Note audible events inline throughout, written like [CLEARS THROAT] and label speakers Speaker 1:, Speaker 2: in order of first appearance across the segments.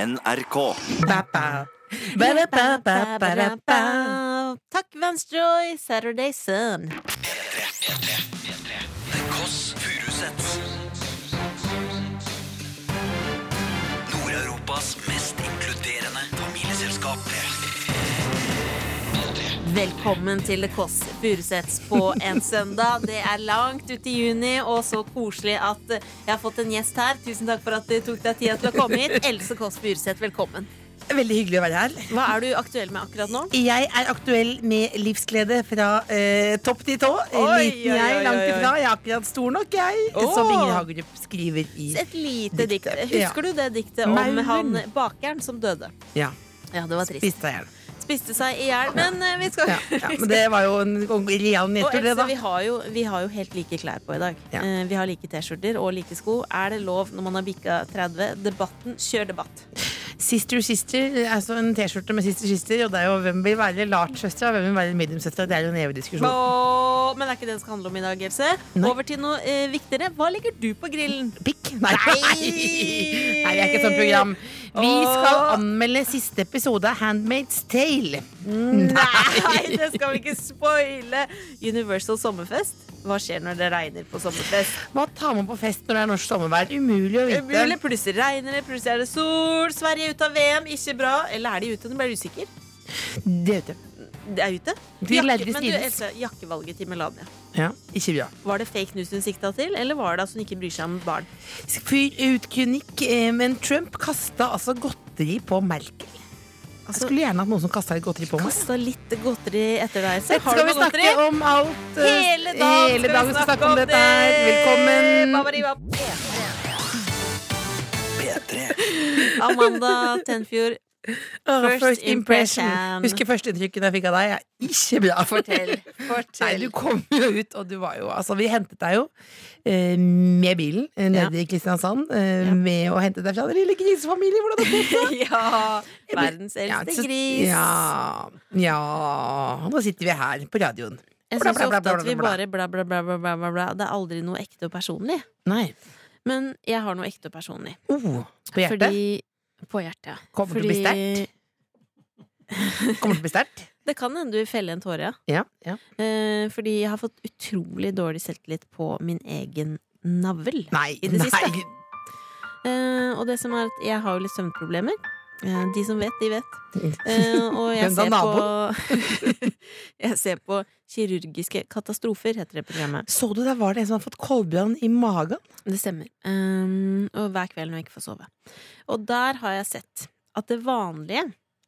Speaker 1: NRK.
Speaker 2: Takk, Vance Joy, Saturday Sun.
Speaker 1: The Kåss Furuseths. Nord-Europas mest inkluderende familieselskap.
Speaker 2: Velkommen til The Kåss Furuseths på en søndag. Det er langt ut i juni, og så koselig at eh, jeg har fått en gjest her. Tusen takk for at du tok deg tida til å komme hit. Else Kåss Furuseth, velkommen.
Speaker 3: Veldig hyggelig å være her.
Speaker 2: Hva er du aktuell med akkurat nå?
Speaker 3: Jeg er aktuell med livsglede fra eh, topp til tå.
Speaker 2: Oi,
Speaker 3: Liten
Speaker 2: oi,
Speaker 3: jeg,
Speaker 2: oi,
Speaker 3: langt
Speaker 2: oi.
Speaker 3: ifra. Jeg er akkurat stor nok, jeg.
Speaker 2: Åh.
Speaker 3: Som Inger Hagerup skriver i
Speaker 2: Et lite dikt.
Speaker 3: Diktet, ja.
Speaker 2: Husker du det diktet om
Speaker 3: Mauren.
Speaker 2: han bakeren som døde?
Speaker 3: Ja,
Speaker 2: Ja, det var trist.
Speaker 3: spiste jeg.
Speaker 2: Spiste seg i hjel, men eh, vi skal
Speaker 3: Ja, ja, men det var jo en en real
Speaker 2: Og
Speaker 3: nedtur, det,
Speaker 2: Else,
Speaker 3: da.
Speaker 2: vi har, jo, vi har jo helt like klær på i dag.
Speaker 3: Ja.
Speaker 2: Eh, Vi har like T-skjorter og like sko. Er det lov når man har bikka 30? Debatten, kjør debatt.
Speaker 3: Sister Sister, altså en T-skjorte med Sister Sister, og det er jo hvem vil være large-søstera, hvem vil være medium-søstera. Det er jo en evig diskusjon.
Speaker 2: Åh, Men det er ikke det det skal handle om i dag, Else.
Speaker 3: Nei.
Speaker 2: Over til noe eh, viktigere. Hva legger du på
Speaker 3: [LAUGHS]
Speaker 2: grillen?
Speaker 3: Pikk? Nei.
Speaker 2: Nei.
Speaker 3: Nei, vi er ikke et sånt program. Vi skal
Speaker 2: Åh.
Speaker 3: anmelde siste episode av Handmaid's Tale.
Speaker 2: Nei, det skal vi ikke spoile! Universal sommerfest. Hva skjer når det regner på sommerfest?
Speaker 3: Hva tar man på fest når det er norsk sommervær? Umulig å vite.
Speaker 2: Umulig. Plutselig regner det, plutselig er det sol. Sverige er ute av VM, ikke bra. Eller er de ute? Nå ble jeg usikker.
Speaker 3: Det vet jeg.
Speaker 2: Det er ute.
Speaker 3: De lærde
Speaker 2: men du,
Speaker 3: strides.
Speaker 2: Else, jakkevalget til Melania.
Speaker 3: Ja, ikke bra.
Speaker 2: Var det fake news hun sikta til, eller var det at hun ikke bryr seg om barn?
Speaker 3: Fyr ut kronikk, eh, men Trump kasta altså godteri på Merkel. Jeg
Speaker 2: Altså,
Speaker 3: skulle gjerne hatt noen som kasta godteri på meg.
Speaker 2: Kasta litt godteri etter deg. Så
Speaker 3: Dette
Speaker 2: har du
Speaker 3: skal vi
Speaker 2: noe godteri?
Speaker 3: snakke om alt. eh,
Speaker 2: Hele dagen,
Speaker 3: hele dagen skal vi snakke om dette her. Velkommen.
Speaker 2: Babariba.
Speaker 1: P3.
Speaker 2: Amanda Tenfjord,
Speaker 3: Åh,
Speaker 2: First
Speaker 3: First
Speaker 2: impression.
Speaker 3: impression. Husker førsteinntrykket jeg fikk av deg? er Ikke bra.
Speaker 2: fortell.
Speaker 3: Nei,
Speaker 2: fortell.
Speaker 3: du kom jo ut, og du var jo Altså, vi hentet deg jo eh, med bilen eh, nede i Kristiansand. Eh,
Speaker 2: Ja.
Speaker 3: Med å hente deg fra den lille grisefamilien. Hvordan det gikk. [LAUGHS]
Speaker 2: ja. Verdens
Speaker 3: Ja,
Speaker 2: [LAUGHS]
Speaker 3: så-
Speaker 2: eldste gris.
Speaker 3: Ja, ja. Nå sitter vi her på radioen.
Speaker 2: Jeg
Speaker 3: Bla,
Speaker 2: syns
Speaker 3: bla, bla,
Speaker 2: ofte at vi
Speaker 3: bla, bla,
Speaker 2: bare bla, bla, bla, bla, bla, bla, bla. Det er aldri noe ekte og personlig.
Speaker 3: Nei.
Speaker 2: Men jeg har noe ekte og personlig.
Speaker 3: Oh, på hjertet?
Speaker 2: Fordi På hjertet, ja.
Speaker 3: Kommer til å bli
Speaker 2: Fordi-
Speaker 3: Kommer til å bli sterkt?
Speaker 2: Det kan hende du feller en tåre, [LAUGHS] ja.
Speaker 3: Ja. ja.
Speaker 2: Eh, fordi jeg har fått utrolig dårlig selvtillit på min egen navl.
Speaker 3: Nei.
Speaker 2: I det
Speaker 3: nei.
Speaker 2: siste. Eh, og det som er at jeg har jo litt søvnproblemer. Eh, de som vet, de vet. Eh, og jeg
Speaker 3: Hvem da,
Speaker 2: ser på [LAUGHS] Jeg ser på kirurgiske katastrofer, heter det programmet.
Speaker 3: Så du der var det en som hadde fått koldbrann i magen?
Speaker 2: Det stemmer. Eh, og hver kveld når jeg ikke får sove. Og der har jeg sett at det vanlige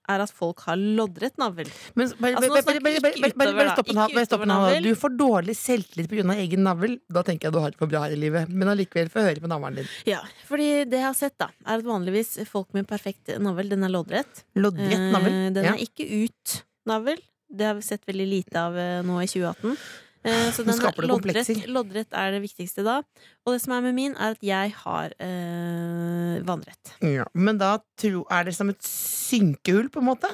Speaker 2: er at folk har loddrett navl.
Speaker 3: Men, bare,
Speaker 2: Altså, nå
Speaker 3: bare,
Speaker 2: snakker
Speaker 3: bare,
Speaker 2: vi
Speaker 3: bare,
Speaker 2: ikke
Speaker 3: bare, bare, bare
Speaker 2: utover, da.
Speaker 3: stopp en
Speaker 2: Ikke
Speaker 3: hal- bare stopp en
Speaker 2: utover
Speaker 3: hal.
Speaker 2: navl.
Speaker 3: Du får dårlig selvtillit pga. egen navl. Da tenker jeg du har det for bra her i livet. Men allikevel, få høre på navlen din.
Speaker 2: Ja, fordi det jeg har sett, da, er at vanligvis folk med perfekt navl, den er loddrett.
Speaker 3: Loddrett navl.
Speaker 2: Eh, Den
Speaker 3: Ja.
Speaker 2: er ikke ut navl. Det har vi sett veldig lite av eh, nå i 2018. Eh, Så
Speaker 3: Nå
Speaker 2: den er
Speaker 3: skaper det
Speaker 2: loddrett,
Speaker 3: komplekser.
Speaker 2: loddrett er det viktigste da. Og det som er med min, er at jeg har eh, vannrett.
Speaker 3: Ja. Men da tro, er det som et synkehull, på en måte?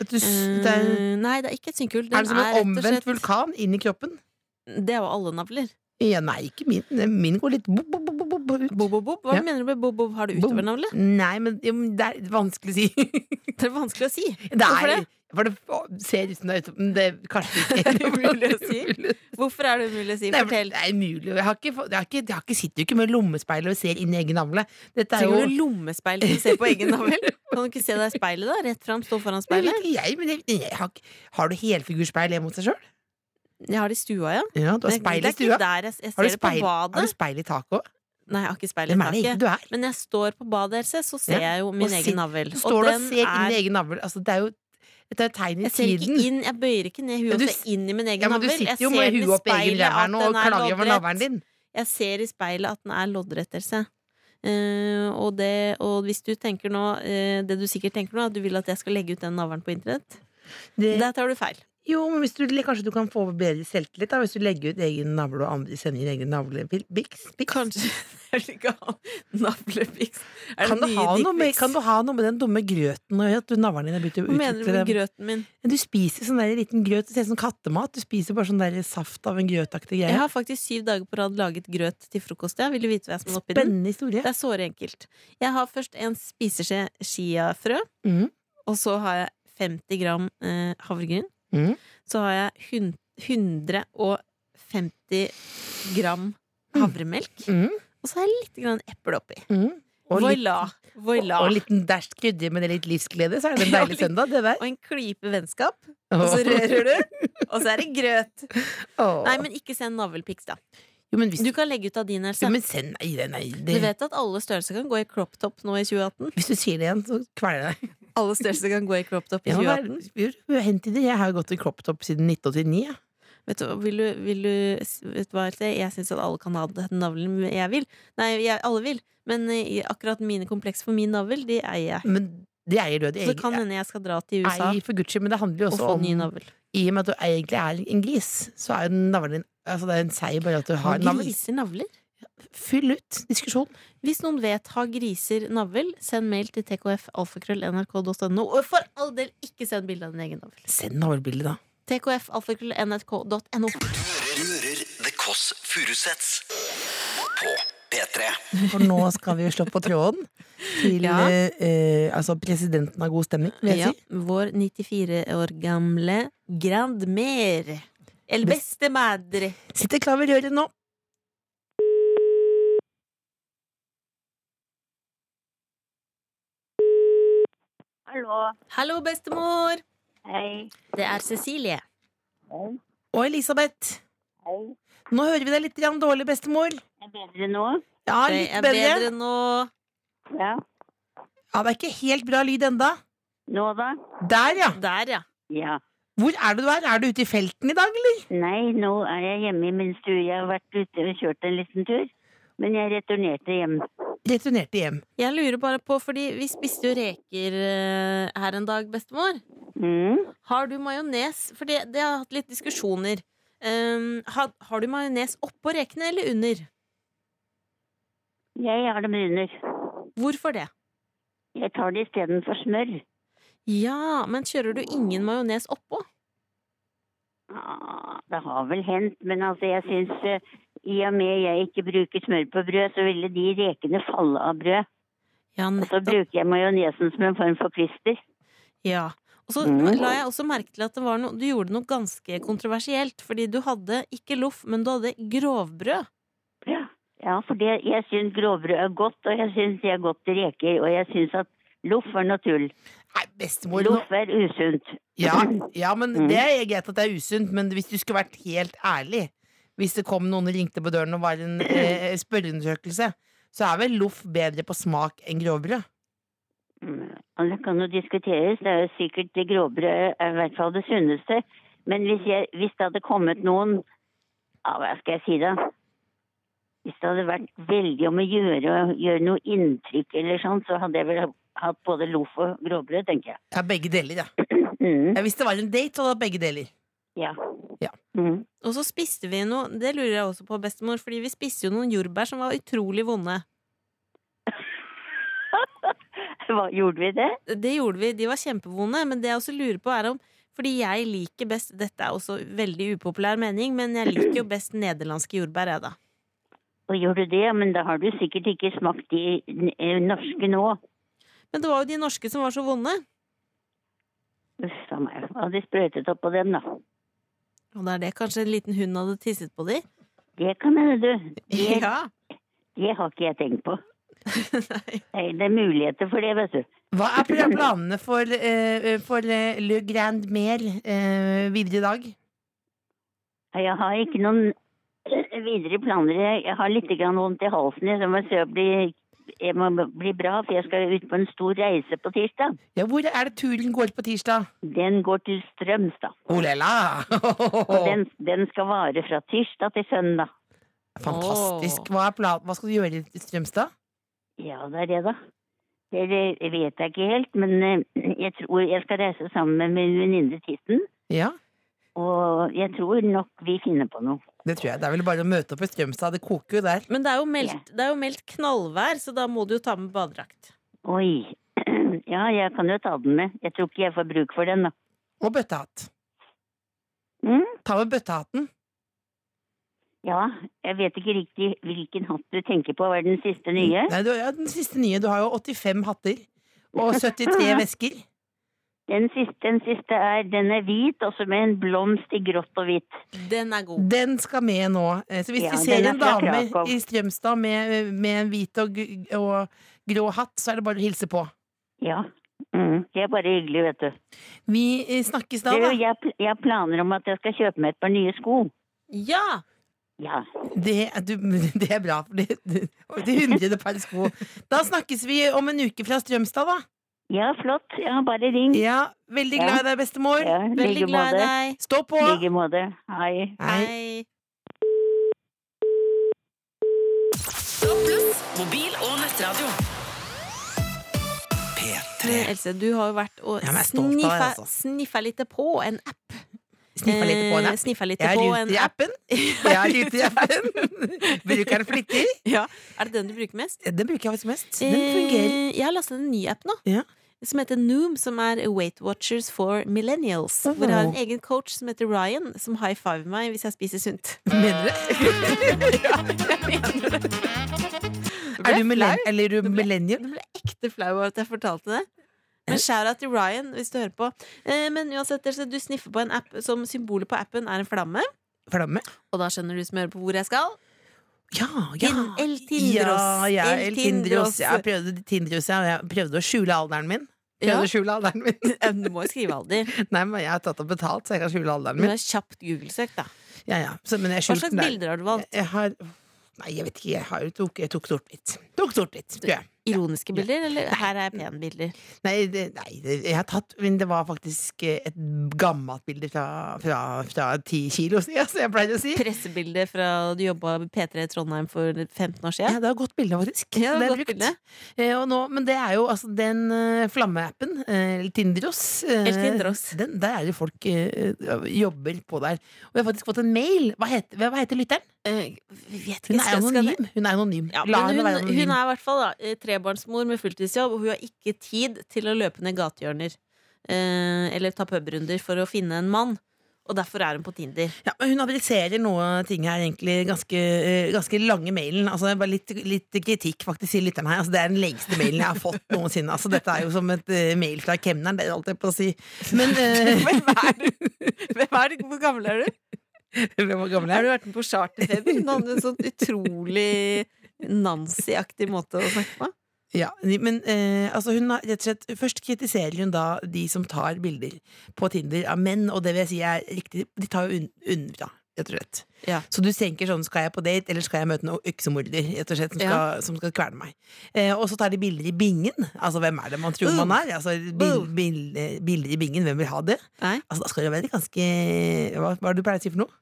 Speaker 3: At du, s- det er,
Speaker 2: Eh, Nei, det er ikke et synkehull. Den
Speaker 3: er det som en
Speaker 2: rett og
Speaker 3: omvendt
Speaker 2: slett-
Speaker 3: vulkan inn i kroppen?
Speaker 2: Det er jo alle navler.
Speaker 3: Ja, nei, ikke min. Min går litt bob, bob, bob, bob, ut.
Speaker 2: Bob-bob-bob. Hva
Speaker 3: Ja.
Speaker 2: mener du med bob-bob? Har du
Speaker 3: Bob.
Speaker 2: utovernavle?
Speaker 3: Nei, men ja, men det er vanskelig å si. [LAUGHS]
Speaker 2: Det er vanskelig å si.
Speaker 3: Det er,
Speaker 2: Hvorfor det?
Speaker 3: For det ser ut som det er ute, men det er kanskje ikke
Speaker 2: Det er [LAUGHS] umulig å si. Hvorfor er det umulig å si?
Speaker 3: Det er,
Speaker 2: Fortell.
Speaker 3: det er umulig. Jeg, har ikke, fått- jeg, har ikke, jeg har ikke, sitter jo ikke med lommespeilet og ser inn i egen navle. Dette er jo
Speaker 2: Trenger du lommespeil for å se på
Speaker 3: [LAUGHS]
Speaker 2: egen navl? Kan du ikke se deg i speilet, da? Rett fram, stå foran
Speaker 3: Det vet
Speaker 2: speilet.
Speaker 3: ikke jeg, men jeg, jeg har, ikke- har du helfigurspeil hjemme hos deg sjøl?
Speaker 2: Jeg har det i stua, ja.
Speaker 3: Ja, du har
Speaker 2: Men
Speaker 3: speil
Speaker 2: det
Speaker 3: i
Speaker 2: er ikke
Speaker 3: stua.
Speaker 2: Der jeg, jeg ser
Speaker 3: Har du,
Speaker 2: det på
Speaker 3: speil, har
Speaker 2: badet.
Speaker 3: du speil i taket òg?
Speaker 2: Nei, jeg har ikke speil i
Speaker 3: Hvem er det egentlig du
Speaker 2: taket.
Speaker 3: er?
Speaker 2: Men når jeg står på badet, Else, så ser
Speaker 3: Ja.
Speaker 2: jeg jo min
Speaker 3: Og
Speaker 2: egen
Speaker 3: sit-
Speaker 2: navl.
Speaker 3: Du
Speaker 2: Og
Speaker 3: står og
Speaker 2: den
Speaker 3: ser inn i
Speaker 2: er
Speaker 3: egen navl. Altså, det er jo dette er jo et tegn i
Speaker 2: jeg ser ikke
Speaker 3: tiden.
Speaker 2: inn, jeg bøyer ikke ned
Speaker 3: Ja,
Speaker 2: huet
Speaker 3: du
Speaker 2: og ser inn i min egen
Speaker 3: Ja, men
Speaker 2: navl.
Speaker 3: du
Speaker 2: Jeg
Speaker 3: sitter jo
Speaker 2: ser
Speaker 3: med
Speaker 2: i
Speaker 3: huet oppi egen
Speaker 2: speilet
Speaker 3: ræv her
Speaker 2: at
Speaker 3: nå
Speaker 2: den
Speaker 3: og
Speaker 2: er
Speaker 3: klager over
Speaker 2: loddrett.
Speaker 3: navlen din.
Speaker 2: Jeg ser i speilet at den er loddrett, Else. Eh, og, det, og hvis du tenker nå eh, Det du sikkert tenker nå, er at du vil at jeg skal legge ut den navlen på internett.
Speaker 3: Det,
Speaker 2: Der tar du feil. [LAUGHS]
Speaker 3: Jo, men hvis du, kanskje du kan få bedre selvtillit da, hvis du legger ut egen navle og andre sender inn egne navlebiks?
Speaker 2: Kanskje jeg vil ikke ha navlepiks. Er
Speaker 3: Kan,
Speaker 2: det
Speaker 3: du
Speaker 2: nye
Speaker 3: ha noe med-
Speaker 2: dickpics?
Speaker 3: kan du ha noe med den dumme grøten å gjøre? At du navlen din har begynt å
Speaker 2: Hva mener du
Speaker 3: utvikle
Speaker 2: med
Speaker 3: dem?
Speaker 2: grøten min?
Speaker 3: Men Du spiser sånn der liten grøt, det ser ut som kattemat. Du spiser bare sånn der saft av en grøtaktig
Speaker 2: Jeg
Speaker 3: greie.
Speaker 2: har faktisk syv dager på rad laget grøt til frokost. Jeg vil du vite hva jeg som er oppi den?
Speaker 3: Spennende historie.
Speaker 2: Det er såre enkelt. Jeg har først en spiseskje chiafrø,
Speaker 3: Mm.
Speaker 2: og så har jeg 50 gram eh, havregryn.
Speaker 3: Mm.
Speaker 2: Så har jeg hun- 150 gram havremelk,
Speaker 3: Mm.
Speaker 2: og så har jeg litt grann eple oppi.
Speaker 3: Mm. Og, litt,
Speaker 2: Voila!
Speaker 3: og,
Speaker 2: Voila.
Speaker 3: og en liten dæsj krydder med det litt livsglede, så er det en
Speaker 2: Ja,
Speaker 3: deilig
Speaker 2: litt-
Speaker 3: søndag, det der.
Speaker 2: Og en klype
Speaker 3: [LAUGHS]
Speaker 2: vennskap, og så rører du, og så er det grøt.
Speaker 3: Åh.
Speaker 2: Nei, men ikke send navelpics, da.
Speaker 3: jo, men hvis
Speaker 2: Du kan legge ut av din, Else.
Speaker 3: jo, men send Nei, det- nei
Speaker 2: Du
Speaker 3: det,
Speaker 2: vet at alle størrelser kan gå i crop top nå i 2018?
Speaker 3: Hvis du sier det igjen, så kveler jeg deg.
Speaker 2: Alle størrelser kan gå i crop top i
Speaker 3: Jeg, må
Speaker 2: 2018.
Speaker 3: være- jo, jo, hent i det. jeg har jo gått i crop top siden 1989. jeg.
Speaker 2: Vet du, hva, vil du, vil du, vet du hva, Else? Jeg syns at alle kan ha den navlen jeg vil. Nei, jeg, alle vil. Men eh, akkurat mine komplekser for min navl, de eier jeg.
Speaker 3: Men det eier du. Det
Speaker 2: Så det kan hende jeg altså skal dra til USA
Speaker 3: Ei, for guds skyld, men det handler jo
Speaker 2: og
Speaker 3: også
Speaker 2: få
Speaker 3: om
Speaker 2: ny navl.
Speaker 3: I og med at du egentlig er en gris, så er jo navlen din Altså, det er en seier bare at du har
Speaker 2: Har
Speaker 3: en navl.
Speaker 2: griser navler?
Speaker 3: Fyll ut diskusjon.
Speaker 2: Hvis noen vet har griser navl, send mail til tkfalfakrøll.nrk.no. Og for all del, ikke send bilde av din egen navl.
Speaker 3: Send navlebildet,
Speaker 2: [LAUGHS]
Speaker 3: da.
Speaker 2: tkfalfakrøll.nrk.no.
Speaker 1: Du hører The Kåss Furuseths på P3.
Speaker 3: For nå skal vi jo slå på tråden til
Speaker 2: Ja.
Speaker 3: eh, eh, altså presidenten av god stemning, vil jeg
Speaker 2: Ja,
Speaker 3: si.
Speaker 2: vår 94 år gamle grandmer. El
Speaker 3: Bes-
Speaker 2: beste madre.
Speaker 3: Sitter klar ved røret nå.
Speaker 4: Hallo.
Speaker 2: Hallo, bestemor!
Speaker 4: Hei.
Speaker 2: Det er Cecilie.
Speaker 4: Hei.
Speaker 3: Og Elisabeth.
Speaker 4: Hei.
Speaker 3: Nå hører vi deg litt grann dårlig, bestemor.
Speaker 4: Er det bedre nå?
Speaker 3: Ja,
Speaker 2: Det
Speaker 3: litt
Speaker 2: er bedre
Speaker 3: bedre.
Speaker 2: nå.
Speaker 4: Ja.
Speaker 3: Ja, det er ikke helt bra lyd enda.
Speaker 4: Nå da?
Speaker 3: Der, ja.
Speaker 2: Der, ja.
Speaker 4: Ja.
Speaker 3: Hvor er det du er? Er du ute i felten i dag, eller?
Speaker 4: Nei, nå er jeg hjemme i min stue. Jeg har vært ute og kjørt en liten tur. Men jeg returnerte hjem.
Speaker 3: Returnerte hjem.
Speaker 2: Jeg lurer bare på, fordi vi spiste jo reker eh, her en dag, bestemor.
Speaker 4: Mm.
Speaker 2: Har du majones? For det, det har jeg hatt litt diskusjoner. Um, har, har du majones oppå rekene eller under?
Speaker 4: Jeg har dem under.
Speaker 2: Hvorfor det?
Speaker 4: Jeg tar det istedenfor smør.
Speaker 2: Ja, men kjører du ingen majones oppå?
Speaker 4: Ah, det har vel hendt, men altså jeg syns eh, i og med jeg ikke bruker smør på brød, så ville de rekene falle av brød.
Speaker 2: Ja,
Speaker 4: Og så
Speaker 2: nettopp.
Speaker 4: bruker jeg majonesen som en form for klister.
Speaker 2: Ja. Og så
Speaker 4: Mm.
Speaker 2: la jeg også merke til at det var noe, du gjorde noe ganske kontroversielt. Fordi du hadde ikke loff, men du hadde grovbrød.
Speaker 4: Ja, for det, jeg syns grovbrød er godt, og jeg syns det er godt til reker. Og jeg syns at loff er noe tull.
Speaker 3: Nei, bestemor, nå
Speaker 4: Loff er usunt.
Speaker 3: Ja, ja men
Speaker 4: Mm.
Speaker 3: det er greit at det er usunt, men hvis du skulle vært helt ærlig Hvis det kom noen og ringte på døren og var
Speaker 4: [CLEARS THROAT]
Speaker 3: en eh, spørreundersøkelse, så er vel loff bedre på smak enn grovbrød?
Speaker 4: Mm, og Det kan jo diskuteres. Det er jo sikkert det grovbrød er i hvert fall det sunneste. Men hvis, jeg, hvis det hadde kommet noen ja, Hva skal jeg si, da? Hvis det hadde vært veldig om å gjøre, gjøre noe inntrykk eller sånn, så hadde jeg vel hatt både loff og grovbrød, tenker jeg.
Speaker 3: Ja, begge deler, ja.
Speaker 4: Mm,
Speaker 3: ja hvis det var en date, så hadde det vært begge deler.
Speaker 4: ja.
Speaker 3: Ja.
Speaker 4: Mm. [LAUGHS]
Speaker 2: Og så spiste vi noe, det lurer jeg også på, bestemor, fordi vi spiste jo noen jordbær som var utrolig vonde.
Speaker 4: Hva, gjorde vi det?
Speaker 2: Det gjorde vi, de var kjempevonde, men det jeg også lurer på, er om fordi jeg liker best Dette er også veldig upopulær mening, men jeg liker jo best nederlandske jordbær, jeg, da.
Speaker 4: Og gjør du det, men da har du sikkert ikke smakt de n- eh, norske nå.
Speaker 2: Men det var jo de norske som var så vonde.
Speaker 4: Uff a meg. Hva de sprøytet opp på dem, da?
Speaker 2: Og det er det kanskje en liten hund hadde tisset på de?
Speaker 4: Det kan hende, du. Det,
Speaker 2: [LAUGHS] Ja.
Speaker 4: det har ikke jeg tenkt på.
Speaker 2: Nei.
Speaker 4: Nei, det er muligheter for det, vet du.
Speaker 3: Hva er pla- planene for, eh, for eh, Le Grand Mer eh, videre i dag?
Speaker 4: Nei, Jeg har ikke noen videre planer. Jeg- Jeg har litt grann vondt i halsen. Jeg må se å bli jeg må bli bra, for jeg skal ut på en stor reise på tirsdag.
Speaker 3: Ja, hvor er det turen går på tirsdag?
Speaker 4: Den går til Strømstad.
Speaker 3: Olela! [LAUGHS]
Speaker 4: Og den, den skal vare fra tirsdag til søndag.
Speaker 3: Fantastisk. Hva, er planen? Hva skal du gjøre i Strømstad?
Speaker 4: Ja, det er det, da. Det eh, vet jeg ikke helt, men eh, jeg tror jeg skal reise sammen med min venninne Titten.
Speaker 3: Ja.
Speaker 4: Og jeg tror nok vi finner på noe.
Speaker 3: Det tror jeg. Det er vel bare å møte opp i Strømstad. Det koker jo der.
Speaker 2: Men det er jo meldt, det er jo meldt knallvær, så da må du jo ta med badedrakt.
Speaker 4: Oi. [CLEARS THROAT] Ja, jeg kan jo ta den med. Jeg tror ikke jeg får bruk for den, da.
Speaker 3: Og bøttehatt.
Speaker 4: Mm?
Speaker 3: Ta med bøttehatten.
Speaker 4: Ja, jeg vet ikke riktig hvilken hatt du tenker på. Var det den siste nye?
Speaker 3: Nei, du, ja, den siste nye. Du har jo 85
Speaker 4: [LAUGHS]
Speaker 3: hatter. Og 73 vesker.
Speaker 4: Den siste, den siste er, den er hvit, også med en blomst i grått og hvitt.
Speaker 2: Den er god.
Speaker 3: Den skal med nå. Eh, Så hvis du
Speaker 4: Ja, den
Speaker 3: ser
Speaker 4: er
Speaker 3: en
Speaker 4: fra
Speaker 3: dame
Speaker 4: Krakow.
Speaker 3: i Strømstad med, med en hvit og, gu- og grå hatt, så er det bare å hilse på.
Speaker 4: Ja. Mm. Det er bare hyggelig, vet du.
Speaker 3: Vi eh, snakkes da,
Speaker 4: Du,
Speaker 3: da.
Speaker 4: jeg, pl- jeg har planer om at jeg skal kjøpe meg et par nye sko.
Speaker 2: Ja!
Speaker 4: Ja.
Speaker 3: Det, er- du, det er bra, for det, det, og det hundrede par sko. Da snakkes vi om en uke fra Strømstad, da.
Speaker 4: ja, flott. Ja, bare ring.
Speaker 3: Ja, veldig glad i deg, bestemor.
Speaker 4: Ja, i like
Speaker 2: Veldig glad i
Speaker 4: måte.
Speaker 2: deg.
Speaker 3: Stå på!
Speaker 4: I like måte. Hei.
Speaker 3: Hei.
Speaker 2: Hei.
Speaker 1: P3.
Speaker 2: Eh, Else, du har jo vært og
Speaker 3: Ja, men jeg er stolt av deg,
Speaker 2: sniffa,
Speaker 3: altså.
Speaker 2: sniffa litt på en app.
Speaker 3: Sniffa litt på
Speaker 2: Eh,
Speaker 3: en app.
Speaker 2: Sniffa litt
Speaker 3: Jeg er
Speaker 2: på
Speaker 3: ute
Speaker 2: en
Speaker 3: i
Speaker 2: app.
Speaker 3: appen. Jeg er ute i appen. Bruker den flittig.
Speaker 2: Ja. Er det den du bruker mest?
Speaker 3: Den bruker jeg faktisk mest. Den fungerer.
Speaker 2: Eh, Jeg har lastet en ny app nå.
Speaker 3: Ja.
Speaker 2: Som heter Noom, som er Weight Watchers for Millennials.
Speaker 3: Oh.
Speaker 2: Hvor jeg har en egen coach som heter Ryan, som high fiver meg hvis jeg spiser sunt.
Speaker 3: Mener du? [LAUGHS] Er du millenn- eller er du millennium?
Speaker 2: Jeg ble ekte flau over at jeg fortalte det. Men skjæra til Ryan, hvis du hører på. Eh, Men uansett, Else, du sniffer på en app som symbolet på appen er en flamme.
Speaker 3: Flamme?
Speaker 2: Og da skjønner du som hører på hvor jeg skal.
Speaker 3: Ja, ja.
Speaker 2: Tin- El Tindros.
Speaker 3: Ja, ja, El Tindros. Jeg
Speaker 2: [LAUGHS] Ja.
Speaker 3: prøvde Tindros, ja. og Jeg prøvde å skjule alderen min. Prøvde å skjule alderen min. [LAUGHS]
Speaker 2: Eh, Du må jo skrive alder.
Speaker 3: Nei, men jeg har tatt og betalt, så jeg kan skjule alderen
Speaker 2: Du
Speaker 3: min.
Speaker 2: har kjapt Google-søk, da.
Speaker 3: Ja, ja. Så, men jeg
Speaker 2: Hva
Speaker 3: skjulte
Speaker 2: slags
Speaker 3: den der.
Speaker 2: bilder har du valgt?
Speaker 3: Jeg har Nei, jeg vet ikke. Jeg, har, jo tok, jeg tok sort-hvitt. Tok sort-hvitt, tror jeg.
Speaker 2: Ironiske bilder, eller her er pen-bilder?
Speaker 3: Nei, det, nei det, jeg har tatt Men det var faktisk eh, et gammelt bilde fra, fra, fra 10 kilo siden, [LAUGHS] som jeg pleier å si.
Speaker 2: Pressebilder fra du jobba med P3 i Trondheim for 15
Speaker 3: Ja,
Speaker 2: år siden?
Speaker 3: det er et godt bilde, faktisk.
Speaker 2: Ja, det er
Speaker 3: er
Speaker 2: et godt
Speaker 3: brukt. Eh, og nå, men det er jo altså den eh, flammeappen, eh, El Tindros, eh,
Speaker 2: El Tindros.
Speaker 3: Den, der er det folk eh, jobber på der. Og jeg har faktisk fått en mail. Hva heter, hva heter lytteren?
Speaker 2: Eh, vi vet
Speaker 3: Hun er
Speaker 2: ikke. Skal, skal det
Speaker 3: anonym. Hun er anonym.
Speaker 2: ja,
Speaker 3: La
Speaker 2: men
Speaker 3: henne
Speaker 2: hun,
Speaker 3: være
Speaker 2: hun
Speaker 3: anonym.
Speaker 2: er i hvert fall da, eh, trebarnsmor med fulltidsjobb, og hun har ikke tid til å løpe ned gatehjørner eh, eller ta pubrunder for å finne en mann. Og derfor er hun på Tinder.
Speaker 3: Ja, men hun adresserer noe ting her egentlig ganske, eh, ganske lange mailen. Altså, det er bare litt, litt kritikk faktisk i lytteren her. Altså, det er den lengste mailen jeg har fått noensinne. Altså, dette er jo som et eh, mail fra kemneren, det holdt jeg på å si. Men
Speaker 2: [LAUGHS]
Speaker 3: eh,
Speaker 2: [LAUGHS] Hvem er du? Hvem er du? Hvor gammel er du?
Speaker 3: Hvor gammel
Speaker 2: Har
Speaker 3: er du?
Speaker 2: du vært med på charterfeber? Hun hadde en sånn utrolig Nancy-aktig måte å snakke på.
Speaker 3: Ja, men eh, altså hun har rett og slett Først kritiserer hun da de som tar bilder på Tinder av menn, og det vil jeg si er riktig. De tar jo un- unnafra, rett og slett.
Speaker 2: Ja.
Speaker 3: Så du tenker sånn Skal jeg på date, eller skal jeg møte en øksemorder rett og slett, som, skal, som skal kverne meg? Eh, og så tar de bilder i bingen. Altså Hvem er det man tror
Speaker 2: Uh.
Speaker 3: man er? Altså bil,
Speaker 2: Uh.
Speaker 3: bil- eh, Bilder i bingen, hvem vil ha det?
Speaker 2: Nei.
Speaker 3: Altså Da skal det være ganske Hva, hva er det du pleier å si for noe?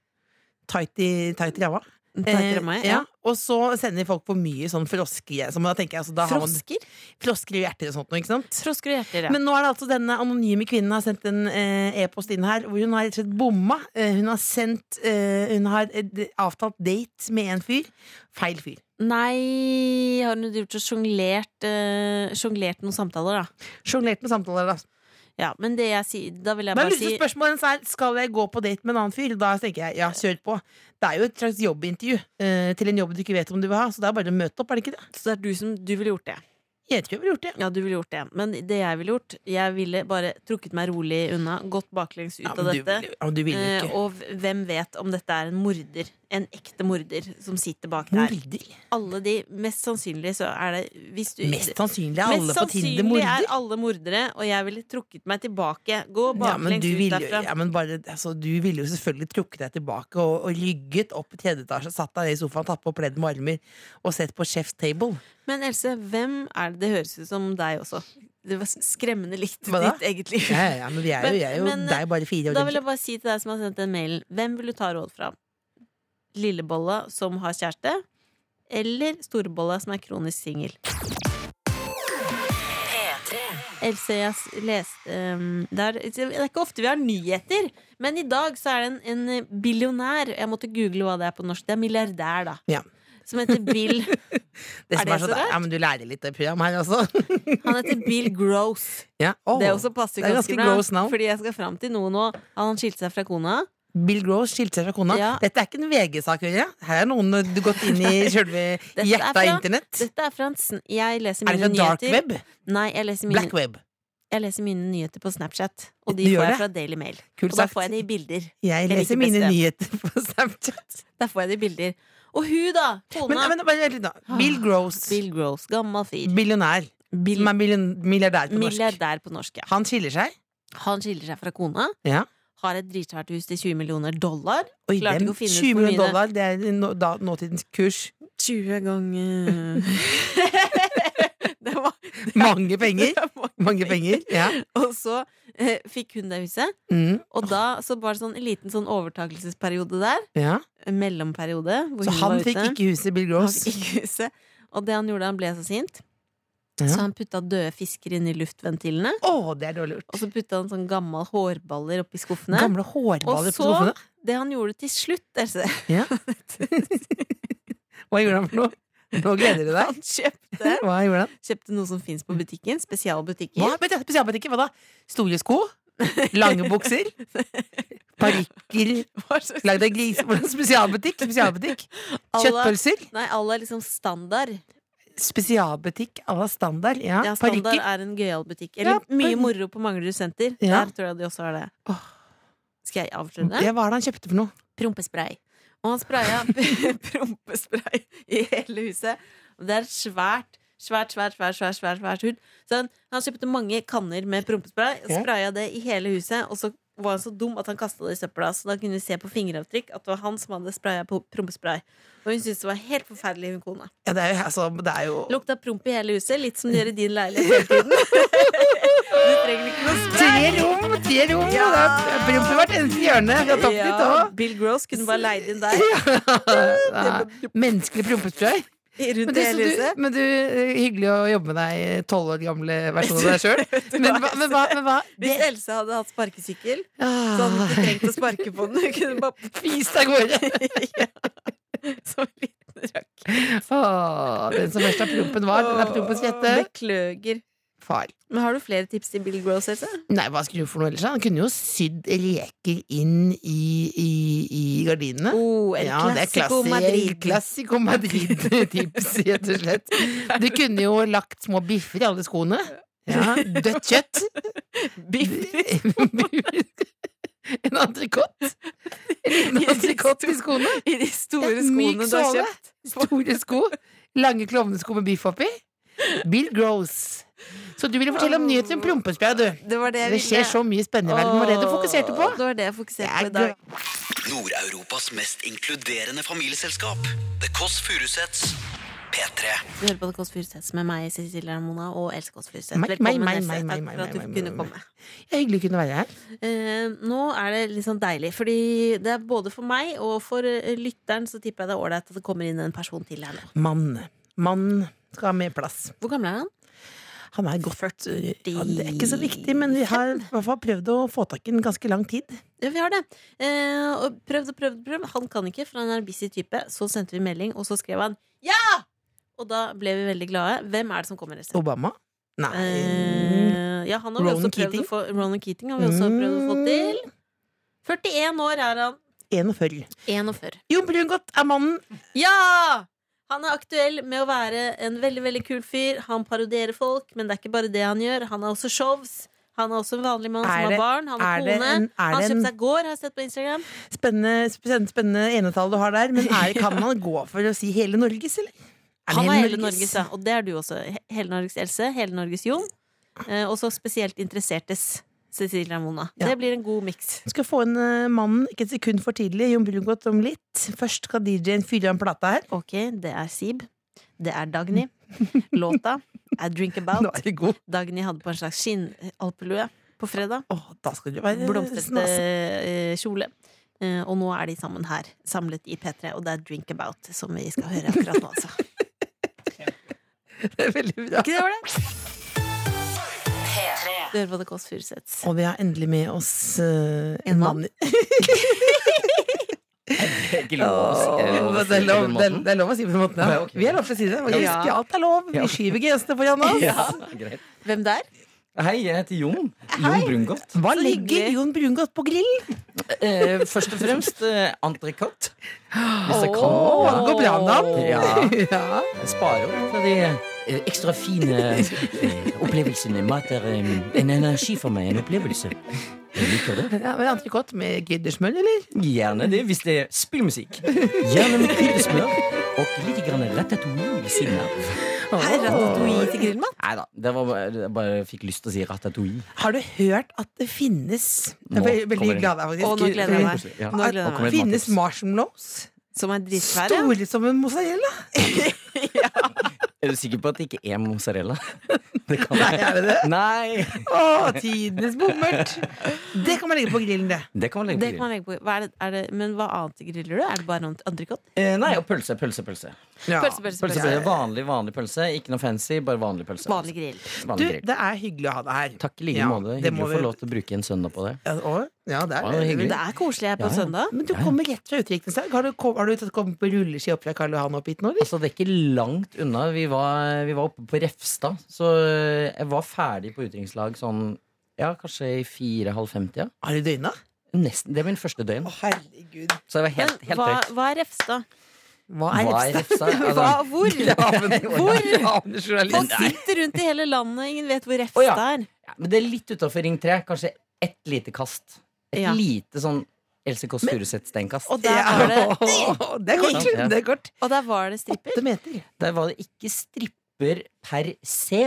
Speaker 3: Tight i, tight i ræva?
Speaker 2: Takk til meg.
Speaker 3: Eh, ja.
Speaker 2: Ja.
Speaker 3: Og så sender folk for mye sånn frosker. Så da tenker jeg, altså, da har man
Speaker 2: Frosker?
Speaker 3: frosker i hjerter og sånt noe, ikke sant?
Speaker 2: Frosker og hjerter, ja.
Speaker 3: Men nå er det altså denne anonyme kvinnen har sendt en eh, e-post inn her, hvor hun har rett og slett bomma. Eh, hun har sendt eh, Hun har eh, d- avtalt date med en fyr. Feil fyr.
Speaker 2: Nei, har hun gjort og sjonglert eh, Sjonglert noen samtaler, da?
Speaker 3: Sjonglert med samtaler, da.
Speaker 2: Ja, men det jeg sier Da vil jeg
Speaker 3: Men
Speaker 2: bare
Speaker 3: hvis
Speaker 2: si
Speaker 3: spørsmålet hennes er skal jeg gå på date med en annen fyr, da tenker jeg ja, kjør på. Det er jo et slags jobbintervju eh, til en jobb du ikke vet om du vil ha, så det er bare å møte opp, er det ikke det?
Speaker 2: Så det er du som Du ville gjort det.
Speaker 3: Jeg tror jeg ville gjort det.
Speaker 2: Ja, du ville gjort det. Men det jeg ville gjort Jeg ville bare trukket meg rolig unna, gått baklengs ut
Speaker 3: Ja,
Speaker 2: av
Speaker 3: men du,
Speaker 2: dette.
Speaker 3: vil- ja, men du vil jo
Speaker 2: eh,
Speaker 3: ikke.
Speaker 2: og v- hvem vet om dette er en morder? En ekte morder som sitter bak der.
Speaker 3: Morder?
Speaker 2: Alle de Mest sannsynlig så er det hvis du,
Speaker 3: Mest sannsynlig er
Speaker 2: Mest
Speaker 3: alle på Tinder
Speaker 2: sannsynlig
Speaker 3: morder.
Speaker 2: er alle mordere, og jeg ville trukket meg tilbake. Gå
Speaker 3: Ja, men
Speaker 2: baklengs
Speaker 3: du
Speaker 2: ut
Speaker 3: ville jo,
Speaker 2: derfra.
Speaker 3: ja, men bare, altså, du ville jo selvfølgelig trukket deg tilbake og, og rygget opp i tredje etasje, satt deg ned i sofaen, tatt på pledd med armer og sett på Chef's Table.
Speaker 2: Men Else, hvem er det det høres ut som deg også? Det var skremmende likt
Speaker 3: Hva da?
Speaker 2: ditt eget liv.
Speaker 3: Ja, ja, ja, men vi er jo,
Speaker 2: Men-
Speaker 3: jeg er jo
Speaker 2: men,
Speaker 3: det er jo bare fire år
Speaker 2: Da vil jeg
Speaker 3: eldre.
Speaker 2: bare si til deg som har sendt den mailen, hvem vil du ta råd fra? Lillebolla som har kjæreste, eller storebolla som er kronisk singel? Else, jeg s- leste ehm, det, er, det er ikke ofte vi har nyheter, men i dag så er det en, en billionær Jeg måtte google hva det er på norsk. Det er milliardær, da.
Speaker 3: Ja.
Speaker 2: Som heter Bill
Speaker 3: Det
Speaker 2: Er
Speaker 3: som
Speaker 2: det
Speaker 3: er så
Speaker 2: så rart?
Speaker 3: Ja, men du lærer litt av programmet her også.
Speaker 2: Han heter Bill Gross.
Speaker 3: [LAUGHS] Ja. Åh,
Speaker 2: Det også passer
Speaker 3: det er
Speaker 2: ganske
Speaker 3: ganske
Speaker 2: bra.
Speaker 3: gross navn.
Speaker 2: Fordi jeg skal fram til noe nå. Han skilte seg fra kona.
Speaker 3: Bill Gross skilte seg fra kona.
Speaker 2: Ja.
Speaker 3: Dette er ikke en VG-sak. Ørje. Her er noen eh, du gått
Speaker 2: [LAUGHS]
Speaker 3: inn i sjølve
Speaker 2: Dette er
Speaker 3: hjertet av
Speaker 2: fra-
Speaker 3: internett.
Speaker 2: Dette er fra en sn Jeg leser
Speaker 3: Er det
Speaker 2: mine
Speaker 3: fra dark
Speaker 2: nyheter.
Speaker 3: web?
Speaker 2: Nei, jeg leser mine,
Speaker 3: Black web.
Speaker 2: jeg leser mine nyheter på Snapchat. Og de
Speaker 3: Du gjør
Speaker 2: får jeg
Speaker 3: det?
Speaker 2: fra Daily Mail.
Speaker 3: Kult
Speaker 2: og da
Speaker 3: sagt.
Speaker 2: får jeg det i bilder.
Speaker 3: Jeg
Speaker 2: liker
Speaker 3: leser mine
Speaker 2: best det.
Speaker 3: nyheter på Snapchat.
Speaker 2: Der får jeg det i bilder. Og hun, da!
Speaker 3: Men,
Speaker 2: Kona. Ah.
Speaker 3: men bare vent litt, da. Bill Gross.
Speaker 2: Bill Gross. Gammel fyr.
Speaker 3: Billionær. Som er million- milliardær på norsk.
Speaker 2: Milliardær på norsk, ja.
Speaker 3: Han skiller seg.
Speaker 2: Han skiller seg fra kona.
Speaker 3: Ja.
Speaker 2: Har et dritsvært hus til 20 millioner dollar.
Speaker 3: Oi,
Speaker 2: Klarte
Speaker 3: dem,
Speaker 2: ikke å finne ut
Speaker 3: 20
Speaker 2: hvor mye
Speaker 3: millioner
Speaker 2: det-
Speaker 3: dollar, det er nå, da, nåtidens kurs.
Speaker 2: 20 ganger [LAUGHS] Det var
Speaker 3: Mange penger.
Speaker 2: det var-
Speaker 3: Mange penger. Ja.
Speaker 2: Og så eh, fikk hun det huset.
Speaker 3: Mm,
Speaker 2: Og da så var det sånn en liten sånn overtakelsesperiode der.
Speaker 3: ja.
Speaker 2: En mellomperiode. Hvor
Speaker 3: Så
Speaker 2: hun
Speaker 3: han
Speaker 2: var
Speaker 3: fikk
Speaker 2: ute.
Speaker 3: ikke huset Bill
Speaker 2: Han
Speaker 3: Gross.
Speaker 2: fikk ikke huset. Og det han gjorde, han ble så sint.
Speaker 3: Ja.
Speaker 2: Så han putta døde fisker inn i luftventilene.
Speaker 3: Å, det er dårlig
Speaker 2: Og
Speaker 3: gjort.
Speaker 2: så putta han sånn gammel hårballer oppi skuffene.
Speaker 3: Gamle hårballer
Speaker 2: Og
Speaker 3: på
Speaker 2: så-
Speaker 3: skuffene.
Speaker 2: Det han gjorde til slutt, [LAUGHS] Else
Speaker 3: Ja. Hva gjorde han for noe? Nå gleder du deg.
Speaker 2: Han kjøpte,
Speaker 3: [LAUGHS] Hva gjorde han?
Speaker 2: kjøpte noe som fins på butikken.
Speaker 3: Mm. Hva?
Speaker 2: Spesialbutikker.
Speaker 3: Vent, jeg- Spesialbutikken, hva da? Store sko? Lange
Speaker 2: [LAUGHS]
Speaker 3: bukser? Parykker?
Speaker 2: [LAUGHS] Hva slags-
Speaker 3: Lagd av gris? hvordan? Spesialbutikk? Spesialbutikk?
Speaker 2: Alle-
Speaker 3: Kjøttpølser?
Speaker 2: Nei, alle er liksom standard.
Speaker 3: Spesialbutikk à la standard? Ja.
Speaker 2: Ja, standard
Speaker 3: Parykker?
Speaker 2: er en gøyal butikk. Eller
Speaker 3: Ja,
Speaker 2: mye
Speaker 3: par-
Speaker 2: moro på Manglerud senter.
Speaker 3: Ja.
Speaker 2: Der tror jeg de også har det.
Speaker 3: Åh.
Speaker 2: Skal jeg avsløre det?
Speaker 3: Ja, hva er det han kjøpte for noe?
Speaker 2: prompespray. Og han spraya
Speaker 3: [LAUGHS]
Speaker 2: [LAUGHS] prompespray i hele huset. Og Det er et svært, svært, svært, svært, svært, svært, svært hull. Så han, han kjøpte mange kanner med prompespray og
Speaker 3: Ja.
Speaker 2: spraya det i hele huset. Og så var han så dum at han kasta det i søpla, så da kunne vi se på fingeravtrykk at det var han som hadde spraya på prompespray. Og hun syntes det var helt forferdelig, hun kona.
Speaker 3: Ja, det er jo, altså, det er jo
Speaker 2: Lukta promp i hele huset, litt som det gjør i din leilighet hele
Speaker 3: [LAUGHS]
Speaker 2: tiden. du trenger ikke noe spray.
Speaker 3: Tre rom! Tre rom!
Speaker 2: Ja.
Speaker 3: og Det er promp i hvert eneste hjørne fra topp til tå.
Speaker 2: Ja, Bill Gross kunne bare
Speaker 3: [LAUGHS]
Speaker 2: leid inn der.
Speaker 3: Ja, [LAUGHS] Menneskelig prompesprøy. Men,
Speaker 2: Rundt
Speaker 3: du,
Speaker 2: i
Speaker 3: så
Speaker 2: hele huset.
Speaker 3: du- men du, eh, hyggelig å jobbe med deg eh, tolv år gamle versjon [LAUGHS] av deg sjøl. Men hva? Men hva, men hva?
Speaker 2: Hvis
Speaker 3: Det,
Speaker 2: Else hadde hatt sparkesykkel, så hadde hun
Speaker 3: ah,
Speaker 2: ikke trengt å sparke på den. [LAUGHS] Hun kunne bare
Speaker 3: [LAUGHS] fis av gårde!
Speaker 2: ja. Som en liten rakk.
Speaker 3: Åh, den som først har prompen var, den har prompens fjette.
Speaker 2: Beklager.
Speaker 3: Far.
Speaker 2: Men har du flere tips til Bill Gross, Else?
Speaker 3: Nei, hva skulle du for noe ellers? da? Han kunne jo sydd reker inn i, i, i gardinene.
Speaker 2: Oh, El
Speaker 3: Ja, det er
Speaker 2: Clasico
Speaker 3: klassi-
Speaker 2: Madrid. [LAUGHS]
Speaker 3: Classico Madrid-tips, [LAUGHS] rett og slett. Du kunne jo lagt små biffer i alle skoene. Ja, Dødt kjøtt.
Speaker 2: Biff.
Speaker 3: En entrecôte. En
Speaker 2: [LAUGHS]
Speaker 3: liten entrecôte i skoene.
Speaker 2: I de store
Speaker 3: Ja, myk
Speaker 2: skoene du har
Speaker 3: såle.
Speaker 2: kjøpt.
Speaker 3: Store sko. Lange klovnesko med biff oppi. Bill Gross. Så du ville fortelle om nyheter om prompespray, du.
Speaker 2: Det var det jeg
Speaker 3: Det skjer så mye spennende i verden. Var det du fokuserte på?
Speaker 2: Åh, Det var det jeg fokuserte på i dag.
Speaker 1: Nord-Europas mest inkluderende familieselskap. The Kåss Furuseths. P3.
Speaker 2: Du hører på Det Kåss Furuseth med meg, Cecilie Ramona, og Else Kåss Furuseth.
Speaker 3: Meg, meg,
Speaker 2: Velkommen,
Speaker 3: meg,
Speaker 2: Else.
Speaker 3: meg, meg,
Speaker 2: Takk
Speaker 3: meg,
Speaker 2: for at
Speaker 3: meg,
Speaker 2: du
Speaker 3: meg,
Speaker 2: kunne
Speaker 3: meg.
Speaker 2: komme.
Speaker 3: Det er hyggelig å kunne være her.
Speaker 2: Eh, nå er det litt sånn deilig, fordi det er både for meg og for eh, lytteren så tipper jeg det er ålreit at det kommer inn en person til her nå.
Speaker 3: Mann. Mann skal ha mer plass.
Speaker 2: Hvor gammel er han?
Speaker 3: Han er godt øh, ja, Det er ikke så viktig, men vi har i hvert fall prøvd å få tak i den ganske lang tid.
Speaker 2: Ja, vi har det. Eh, og prøvd og prøvd og prøvd. Han kan ikke, for han er en busy type. Så sendte vi melding, og så skrev han ja! Og da ble vi veldig glade. Hvem er det som kommer neste?
Speaker 3: Obama? Nei
Speaker 2: Eh, ja, han har vi
Speaker 3: Ronan
Speaker 2: også prøvd
Speaker 3: Keating?
Speaker 2: å få Ronan Keating Mm. har vi også prøvd å få til. 41 år er han.
Speaker 3: 41.
Speaker 2: 41.
Speaker 3: Jon Brungot er mannen.
Speaker 2: Ja! Han er aktuell med å være en veldig veldig kul fyr. Han parodierer folk, men det er ikke bare det han gjør. Han har også shows. Han er også en vanlig mann
Speaker 3: Er
Speaker 2: som
Speaker 3: det-
Speaker 2: har barn. Han har
Speaker 3: er det
Speaker 2: kone.
Speaker 3: en- er
Speaker 2: han
Speaker 3: det en-
Speaker 2: kjøpte seg gård, har jeg sett på Instagram.
Speaker 3: Spennende, spennende, spennende enetall du har der. Men er, kan man gå for å si hele Norges, eller? Er det
Speaker 2: Han er hele Norges, ja. Og det er du også. He- Hele Norges Else. Hele Norges Jon. Eh, og så spesielt interessertes. Cecilie Ramona.
Speaker 3: Ja.
Speaker 2: Det blir en god miks.
Speaker 3: Du skal få en eh, mann ikke et sekund for tidlig. Jon Brungot om litt. Først skal DJ-en fyre av en plate her.
Speaker 2: Ok, det er Sib. Det er
Speaker 3: [LAUGHS]
Speaker 2: Dagny. Låta er Drink About.
Speaker 3: Nå er det god.
Speaker 2: Dagny hadde på en slags skinnalpelue på fredag.
Speaker 3: Åh, da skal du være
Speaker 2: blomstrete
Speaker 3: snasen.
Speaker 2: eh, kjole. Eh, Og nå er de sammen her, samlet i P3, og det er Drink About som vi skal høre akkurat nå, altså. [LAUGHS]
Speaker 3: Det er veldig bra.
Speaker 2: Ikke det var det? Du hører på The Kåss Furuseths.
Speaker 3: Og vi har endelig med oss eh,
Speaker 2: En mann.
Speaker 5: Ikke
Speaker 3: Åh,
Speaker 5: lov å
Speaker 3: det,
Speaker 5: si
Speaker 3: er
Speaker 5: det
Speaker 3: lov,
Speaker 5: på den
Speaker 3: det,
Speaker 5: måten.
Speaker 3: det er lov å si på den måten.
Speaker 5: Ja,
Speaker 3: Ja.
Speaker 5: ok.
Speaker 3: Vi er lov til å si det. faktisk.
Speaker 2: Ja.
Speaker 3: Ja, alt er lov. Vi
Speaker 5: Ja.
Speaker 3: skyver grensene for Janne.
Speaker 5: Ja, greit.
Speaker 2: Hvem der?
Speaker 5: Hei, jeg heter Jon. Jon Brungot.
Speaker 3: Hva
Speaker 2: Så
Speaker 3: legger
Speaker 2: hyggelig.
Speaker 3: Jon Brungot på grill?
Speaker 5: Eh, først og fremst eh, entrecôte. Hvis jeg
Speaker 3: Å,
Speaker 5: kan.
Speaker 3: det går bra med ham.
Speaker 5: Ja.
Speaker 3: Ja.
Speaker 5: Jeg sparer opp til de eh, ekstra fine eh, opplevelsene. Mat er eh, en energi for meg, en opplevelse. Jeg liker det.
Speaker 3: Ja, men Entrecôte med kryddersmør, eller?
Speaker 5: Gjerne det hvis det er spillmusikk. Gjerne med kryddersmør og litt grann ratatouille ved siden av.
Speaker 2: Hei, Ratatouille til grillmann.
Speaker 5: Nei da, det var bare, jeg bare fikk lyst til å si ratatouille.
Speaker 3: Har du hørt at det finnes Jeg
Speaker 5: Nå
Speaker 3: er veldig-
Speaker 5: kommer
Speaker 3: veldig
Speaker 5: det.
Speaker 3: glad der, faktisk.
Speaker 2: Å, nå gleder jeg meg.
Speaker 5: Koselig, ja.
Speaker 2: Nå
Speaker 5: Nå
Speaker 2: gleder jeg meg.
Speaker 5: kommer det et
Speaker 3: Finnes
Speaker 5: mattips.
Speaker 3: marshmallows?
Speaker 2: Som er drittsvær. ja.
Speaker 3: Store som en mozzarella?
Speaker 5: Er du sikker på at det ikke er mozzarella? [LAUGHS] Det kan
Speaker 3: Nei,
Speaker 5: være.
Speaker 3: er det det?
Speaker 5: Nei!
Speaker 3: Å, tidenes bommert! Det kan man legge på grillen, det.
Speaker 5: Det kan man legge
Speaker 2: Det kan
Speaker 5: på
Speaker 2: man
Speaker 5: grill.
Speaker 2: legge på. Hva er det, er det, men hva annet griller du? Er det bare entrecôte?
Speaker 5: Eh, Nei, og pølse, pølse, pølse.
Speaker 3: Ja.
Speaker 2: Pølse, pølse,
Speaker 5: pølse,
Speaker 2: pølse.
Speaker 5: pølse. Vanlig, vanlig pølse. Ikke noe fancy, bare vanlig pølse. Altså,
Speaker 2: Vanlig grill.
Speaker 3: Du,
Speaker 5: Vanlig grill.
Speaker 3: det er hyggelig å ha deg her.
Speaker 5: Takk i like
Speaker 3: Ja,
Speaker 5: måte.
Speaker 3: det
Speaker 5: Hyggelig
Speaker 3: må
Speaker 5: å
Speaker 3: vi-
Speaker 5: få lov til å bruke en søndag på det.
Speaker 3: Ja, å, ja, det er
Speaker 5: Ja, det var
Speaker 2: Men
Speaker 5: hyggelig.
Speaker 2: det er koselig her på
Speaker 5: Ja, ja.
Speaker 2: søndag.
Speaker 3: Men du kommer rett fra utenriksdag. Har du, kom, har du tatt- kommet på rulleski opp fra Karl Johan opp hit nå, eller?
Speaker 5: Altså, det er ikke langt unna. Vi var, vi var oppe på Refstad, så eh, jeg var ferdig på utdrikningslag sånn ja, kanskje i fire-halv femti. Ja.
Speaker 3: Har du døgna?
Speaker 5: Nesten. Det er min første døgn.
Speaker 3: herregud.
Speaker 5: Så jeg var helt,
Speaker 2: Men
Speaker 5: helt
Speaker 2: hva,
Speaker 5: trøkk.
Speaker 2: hva er Refstad?
Speaker 3: Hva er Refstad?
Speaker 5: Refstad?
Speaker 2: Hva,
Speaker 5: Altså,
Speaker 2: hvor?
Speaker 5: [LAUGHS]
Speaker 2: Hvor? Folk
Speaker 3: Hvor?
Speaker 2: sitter rundt i hele landet, ingen vet hvor
Speaker 5: Å, ja.
Speaker 2: Refstad er.
Speaker 5: ja, men det er litt utafor Ring 3. Kanskje ett lite kast. Et
Speaker 2: Ja.
Speaker 5: lite sånn Else Kåss Furuseth-steinkast.
Speaker 2: Og der, var det,
Speaker 3: Det er kort.
Speaker 5: Ja.
Speaker 3: Det er kort.
Speaker 2: og der var det stripper.
Speaker 3: Åtte meter.
Speaker 5: Der var det ikke stripper per se,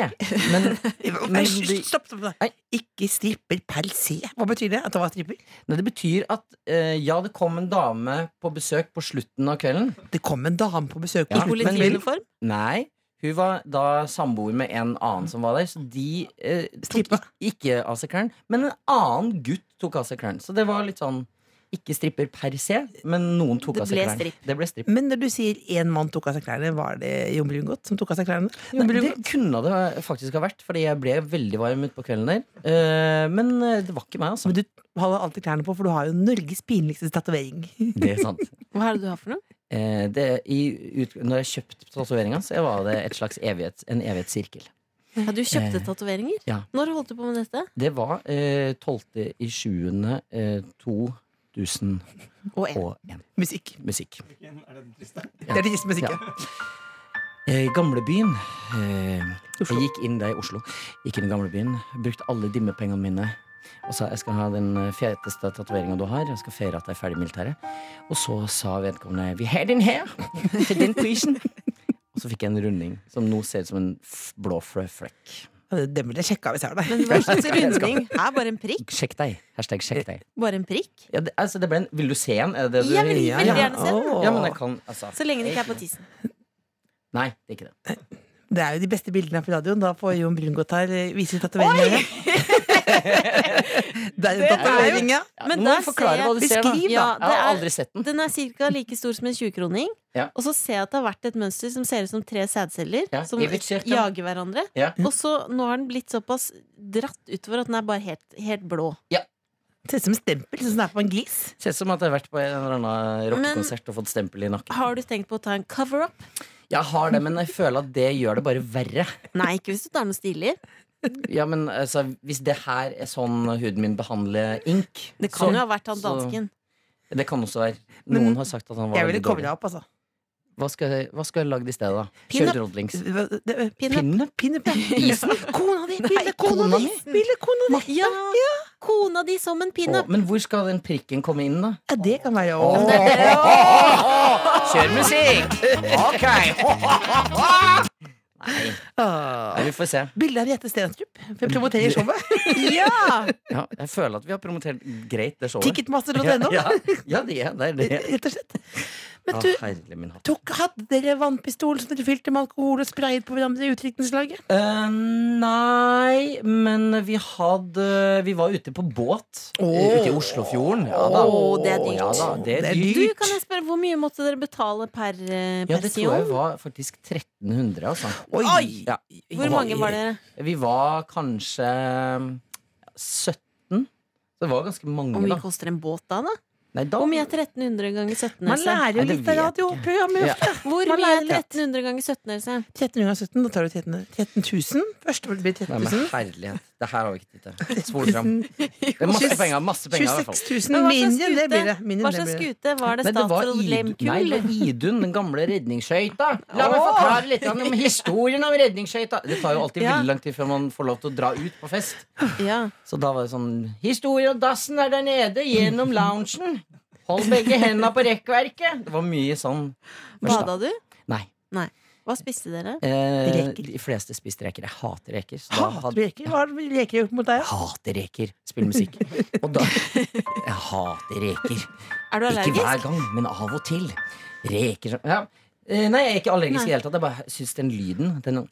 Speaker 5: men Men de-
Speaker 3: Stopp, stopp, stopp.
Speaker 5: Nei.
Speaker 3: Ikke stripper per se. Hva betyr det? At det var stripper?
Speaker 5: Nei, det betyr at eh, ja, det kom en dame på besøk på slutten av kvelden.
Speaker 3: Det kom en dame på besøk.
Speaker 5: Ja,
Speaker 2: I
Speaker 5: men-
Speaker 2: politiuniform.
Speaker 5: Nei, hun var da samboer med en annen som var der, så de eh, tok
Speaker 3: Strippa.
Speaker 5: ik- ikke av seg klærne. Men en annen gutt tok av seg klærne. Så det var litt sånn ikke stripper per se, men noen tok
Speaker 2: Det
Speaker 5: av seg
Speaker 2: ble
Speaker 5: klærne.
Speaker 2: stripp.
Speaker 5: Det ble stripp.
Speaker 3: Men når du sier én mann tok av seg klærne, var det Jon Brungot som tok av seg klærne?
Speaker 5: Nei, det kunne det faktisk ha vært, fordi jeg ble veldig varm utpå kvelden der. Eh, men eh, det var ikke meg, altså.
Speaker 3: Men du holder alltid klærne på, for du har jo Norges pinligste tatovering.
Speaker 5: Det er sant.
Speaker 2: Hva er det du har for noe?
Speaker 5: Eh, det, i, ut, når jeg kjøpte tatoveringa, så var det et slags evighet, en evighetssirkel.
Speaker 2: Ja, du kjøpte
Speaker 5: Eh,
Speaker 2: tatoveringer?
Speaker 5: ja.
Speaker 2: Når holdt du på med dette?
Speaker 5: Det var eh, 12. i 7. Eh, 2001.
Speaker 2: Og en.
Speaker 3: Musikk.
Speaker 5: Musikk.
Speaker 3: Det er det siste musikken.
Speaker 5: Eh, gamlebyen. Eh, jeg
Speaker 3: Oslo.
Speaker 5: gikk inn der i Oslo. Gikk inn i gamlebyen, brukte alle dimmepengene mine. Og sa jeg skal ha den eh, feteste tatoveringa du har. Jeg skal feire at jeg er ferdig i militæret. Og så sa vedkommende Vi har
Speaker 2: [LAUGHS]
Speaker 5: den her! Til den prisen. Og så fikk jeg en runding som nå ser ut som en f- blå frø flekk.
Speaker 3: Ja, Det vil jeg sjekke av hvis jeg har det.
Speaker 2: Men hva
Speaker 5: [LAUGHS]
Speaker 2: slags runding? Er bare en prikk?
Speaker 5: Sjekk deg. Hashtag sjekk deg.
Speaker 2: Bare en prikk?
Speaker 5: Ja, det, altså, det ble en, vil du se en? Er det det du
Speaker 2: Jeg vil
Speaker 5: Ja,
Speaker 2: veldig
Speaker 5: ja.
Speaker 2: gjerne se den.
Speaker 3: Åh.
Speaker 5: Ja, men jeg kan altså.
Speaker 2: Så lenge det ikke er på tissen.
Speaker 5: Nei, det er ikke det.
Speaker 3: Det er jo de beste bildene på radioen. Da får Jon Brungot her eh, vise tatoveringene. det er jo tatovering, ja.
Speaker 5: Ja,
Speaker 2: Men
Speaker 5: nå må
Speaker 2: der
Speaker 5: du forklare
Speaker 2: ser jeg-
Speaker 5: hva du ser, da.
Speaker 2: Beskriv, da.
Speaker 5: Jeg har
Speaker 2: Det
Speaker 5: aldri sett den.
Speaker 2: Den er ca. like stor som en 20-kroning.
Speaker 5: Ja.
Speaker 2: Og så ser jeg at det har vært et mønster som ser ut som tre sædceller
Speaker 5: Ja,
Speaker 2: som
Speaker 5: jeg vet ikke helt, ja.
Speaker 2: jager hverandre.
Speaker 5: Ja.
Speaker 2: Og så nå har den blitt såpass dratt utover at den er bare helt, helt blå.
Speaker 3: Ser ut som en stempel, sånn som det er på en gris.
Speaker 5: Ser ut som at jeg har vært på en eller annen rockekonsert og fått stempel i nakken.
Speaker 2: Har du tenkt på å ta en cover-up?
Speaker 5: Jeg har det, men jeg føler at det gjør det bare verre.
Speaker 2: Nei, ikke hvis du tar noe stilig.
Speaker 5: Ja, men altså, Hvis det her er sånn huden min behandler ink
Speaker 2: Det kan
Speaker 5: så-
Speaker 2: jo ha vært han
Speaker 5: så-
Speaker 2: dansken.
Speaker 5: Det kan også være.
Speaker 3: Men-
Speaker 5: Noen har sagt at han var
Speaker 3: Jeg ville
Speaker 5: veldig
Speaker 3: komme
Speaker 5: dårlig.
Speaker 3: deg opp, altså.
Speaker 5: Hva skal, jeg, hva skal jeg lagd i stedet, da?
Speaker 2: Pin-up.
Speaker 5: Kjørt rodlings.
Speaker 3: Det- det-
Speaker 5: Pinne?
Speaker 3: Pinup. Isen. Kona di! Bilde
Speaker 5: kona
Speaker 3: kona di!
Speaker 5: mi.
Speaker 3: Bilde kona di!
Speaker 2: Ja, kona di som en pinup!
Speaker 5: Å, Men hvor skal den prikken komme inn, da?
Speaker 3: Ja, det kan være Åh.
Speaker 5: Kjør musikk! Ok! Nei,
Speaker 3: Åh.
Speaker 5: nei, vi får se.
Speaker 3: Bilde av Jette Stenstrup. For jeg promoterer showet.
Speaker 2: [LAUGHS]
Speaker 3: [LAUGHS]
Speaker 2: Ja!
Speaker 5: Ja, jeg føler at vi har promotert greit det showet.
Speaker 3: Ticketmaster.no.
Speaker 5: Ja, ja, ja, det er det. Er
Speaker 3: [LAUGHS]
Speaker 5: det.
Speaker 3: Rett og slett. Men
Speaker 5: Ah,
Speaker 3: du,
Speaker 5: herlig min hatt.
Speaker 3: tok, hadde dere vannpistol som dere fylte med alkohol og sprayet på hverandre i utdrikningslaget?
Speaker 5: Eh, nei, men vi hadde Vi var ute på båt
Speaker 3: Åh.
Speaker 5: eh, ute i Oslofjorden. Ja da.
Speaker 2: Åh, det er dyrt.
Speaker 5: Ja, da, det er
Speaker 3: Det er
Speaker 5: dyrt.
Speaker 2: Du, kan jeg spørre, Hvor mye måtte dere betale per eh,
Speaker 5: Ja, det tror jeg
Speaker 2: person?
Speaker 5: var faktisk 1300, altså.
Speaker 3: Oi!
Speaker 5: Ja.
Speaker 2: Hvor mange var dere?
Speaker 5: Vi var kanskje 17. eh, Så det var ganske mange,
Speaker 2: Hvor mye
Speaker 5: da.
Speaker 2: koster en båt da, da?
Speaker 5: Nei, da
Speaker 2: Hvor mye er 1300 ganger 17,
Speaker 3: Man
Speaker 2: Else?
Speaker 3: lærer jo
Speaker 5: Nei, det
Speaker 3: litt av
Speaker 5: vet jeg.
Speaker 3: radioprogrammet.
Speaker 5: Ja.
Speaker 3: ofte.
Speaker 2: Hvor
Speaker 3: Man
Speaker 2: mye er
Speaker 3: lærer litt.
Speaker 2: 1300 ganger 17, Else?
Speaker 3: 13 ganger 17, da tar du 13 13 000. Først blir det
Speaker 5: Nei,
Speaker 3: 13
Speaker 5: men
Speaker 3: 000.
Speaker 5: herlighet. Det her har vi ikke tid til. Spol
Speaker 3: [LAUGHS]
Speaker 5: fram.
Speaker 3: 000.
Speaker 5: Det er masse penger. masse penger i hvert fall.
Speaker 3: 26
Speaker 2: Men
Speaker 3: 000.
Speaker 2: hva slags
Speaker 3: Mindre enn det
Speaker 2: skute-
Speaker 3: blir det. Mindre
Speaker 2: Hva
Speaker 3: enn det
Speaker 2: slags
Speaker 3: blir det.
Speaker 2: skute? Var det
Speaker 5: Nei, det var
Speaker 2: Statoil
Speaker 5: Idun, nei,
Speaker 2: Lemkuhl?
Speaker 5: det var Idun, den gamle redningsskøyta. La meg
Speaker 3: Åh!
Speaker 5: forklare litt om historien om redningsskøyta. Det tar jo alltid
Speaker 2: Ja.
Speaker 5: veldig lang tid før man får lov til å dra ut på fest.
Speaker 2: Ja.
Speaker 5: Så da var det sånn Historie og dassen er der nede, gjennom loungen. Hold begge henda på rekkverket. Det var mye sånn. først da.
Speaker 2: Bada du?
Speaker 5: Nei.
Speaker 2: Hva spiste dere?
Speaker 5: Eh,
Speaker 3: Reker.
Speaker 5: de fleste spiste reker. Jeg hater reker. så da
Speaker 3: Hater
Speaker 5: hadde-
Speaker 3: du reker? Hva har reker gjort mot deg?
Speaker 5: Jeg hater reker. Spiller musikk. Og da Jeg hater reker.
Speaker 2: Er du
Speaker 5: Ikke hver
Speaker 2: allergisk?
Speaker 5: gang, men av og til. Reker som ja. Eh, Nei, jeg er ikke
Speaker 2: Nei.
Speaker 5: allergisk i det hele tatt. Jeg bare syns den lyden den,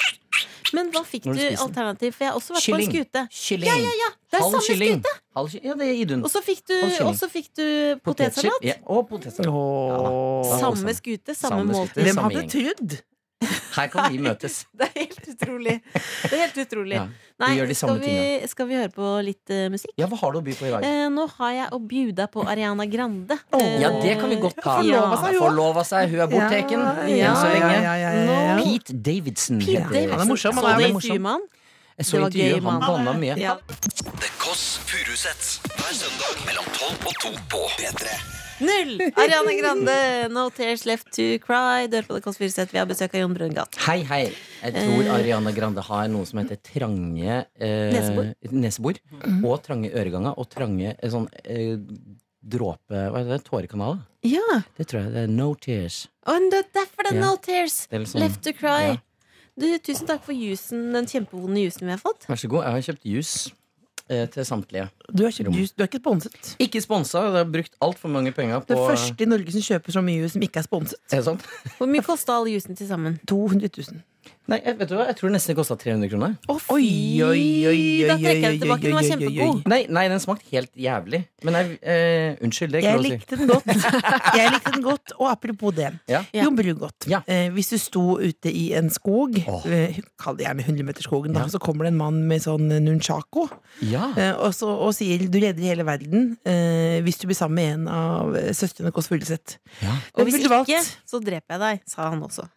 Speaker 2: Men hva fikk
Speaker 5: Når
Speaker 2: du
Speaker 5: du spiser den.
Speaker 2: alternativ? For jeg har også vært
Speaker 5: Kylling.
Speaker 2: på en skute.
Speaker 5: Kylling.
Speaker 2: Ja, ja, ja! Det er
Speaker 5: Halv
Speaker 2: samme
Speaker 5: kylling.
Speaker 2: skute!
Speaker 5: Halv ky- ja, det er Idun.
Speaker 2: Og så fikk du,
Speaker 5: Halv kylling.
Speaker 2: og så fikk du potetsalat.
Speaker 5: Ja, og potetsalat.
Speaker 3: Åh.
Speaker 2: Samme skute, samme
Speaker 5: Samme skute.
Speaker 2: måltid.
Speaker 5: Det er
Speaker 3: Hvem
Speaker 5: samme
Speaker 3: hadde
Speaker 5: gjeng.
Speaker 3: trodd?
Speaker 5: Her kan vi møtes.
Speaker 2: [LAUGHS] Det er helt utrolig. Det er helt utrolig.
Speaker 5: Ja,
Speaker 2: Nei,
Speaker 5: gjør de
Speaker 2: skal
Speaker 5: samme
Speaker 2: vi, skal vi høre på litt eh, musikk?
Speaker 5: Ja, hva har du å by på i dag?
Speaker 2: Eh, nå har jeg å bjuda på Ariana Grande.
Speaker 3: Åh.
Speaker 2: Eh,
Speaker 5: Ja, det kan vi godt ta.
Speaker 3: Forlova seg, jo.
Speaker 5: Forlova seg. Hun er bortteken
Speaker 3: Ja,
Speaker 5: enn
Speaker 3: ja,
Speaker 5: så lenge.
Speaker 3: ja, ja, ja, ja.
Speaker 5: Pete Davidson.
Speaker 2: Pete
Speaker 5: heter-
Speaker 3: Han er
Speaker 2: Davidson.
Speaker 3: morsom, han
Speaker 2: Så
Speaker 3: er morsom.
Speaker 2: det intervjuet med han?
Speaker 5: Jeg så
Speaker 2: Det var gøy,
Speaker 5: intervjuet. Han
Speaker 2: mann.
Speaker 5: banna mye.
Speaker 2: Ja.
Speaker 1: The Kåss Furuseths. Hver søndag mellom 12 og 2 på P3.
Speaker 2: Null! Ariana Grande, No Tears Left To Cry. Du hører på det Kåss Furuseth. Vi har besøk av Jon Brungat.
Speaker 5: Hei, hei. Jeg tror Ariana Grande har noe som heter trange eh,
Speaker 2: Nesebor.
Speaker 5: nesebor, Og trange øreganger. Og trange eh, sånn eh, dråpe... Hva heter det? Tårekanaler?
Speaker 2: Ja,
Speaker 5: Det tror jeg. det er No tears.
Speaker 2: og det er derfor det er
Speaker 5: Ja.
Speaker 2: No Tears
Speaker 5: Det er litt sånn-
Speaker 2: Left To Cry.
Speaker 5: Ja.
Speaker 2: Du, tusen takk for jusen, den kjempevonde jusen vi har fått.
Speaker 5: Vær så god. Jeg har kjøpt juice eh, til samtlige.
Speaker 3: Du er ikke,
Speaker 5: Rom.
Speaker 3: du, du er ikke sponset.
Speaker 5: Ikke sponsa. Jeg har brukt altfor mange penger på
Speaker 3: Det første i Norge som kjøper så mye juice som ikke er sponset.
Speaker 5: Er det sant?
Speaker 2: Hvor mye kosta all jusen til sammen?
Speaker 3: 200 000.
Speaker 5: Nei, jeg, vet du hva? Jeg tror det nesten kosta 300 kroner.
Speaker 3: Oi, oi, oi, oi,
Speaker 2: Da trekker jeg
Speaker 3: oi,
Speaker 2: det tilbake. Den var
Speaker 3: oi, oi, oi,
Speaker 2: kjempegod.
Speaker 5: Nei, nei, den smakte helt jævlig. Men jeg, eh, unnskyld, det er
Speaker 3: Jeg
Speaker 5: ikke lov å si.
Speaker 3: likte den godt. Jeg likte den godt, Og apropos det.
Speaker 5: Ja.
Speaker 2: Ja.
Speaker 3: Jon Brugodt.
Speaker 5: Ja.
Speaker 3: Eh, hvis du sto ute i en skog,
Speaker 5: Åh.
Speaker 3: eh, kall det gjerne 100-meterskogen, da,
Speaker 5: Ja.
Speaker 3: så kommer det en mann med sånn nunchako
Speaker 5: Ja.
Speaker 2: Ah.
Speaker 3: eh, og, så, og sier 'du redder hele verden' eh, hvis du blir sammen med en av eh, søstrene Kåss Furuseth.
Speaker 5: ja.
Speaker 2: Og
Speaker 3: Hvem
Speaker 2: hvis
Speaker 3: ville du
Speaker 2: ikke,
Speaker 3: valgt?
Speaker 2: så dreper jeg deg, sa han også.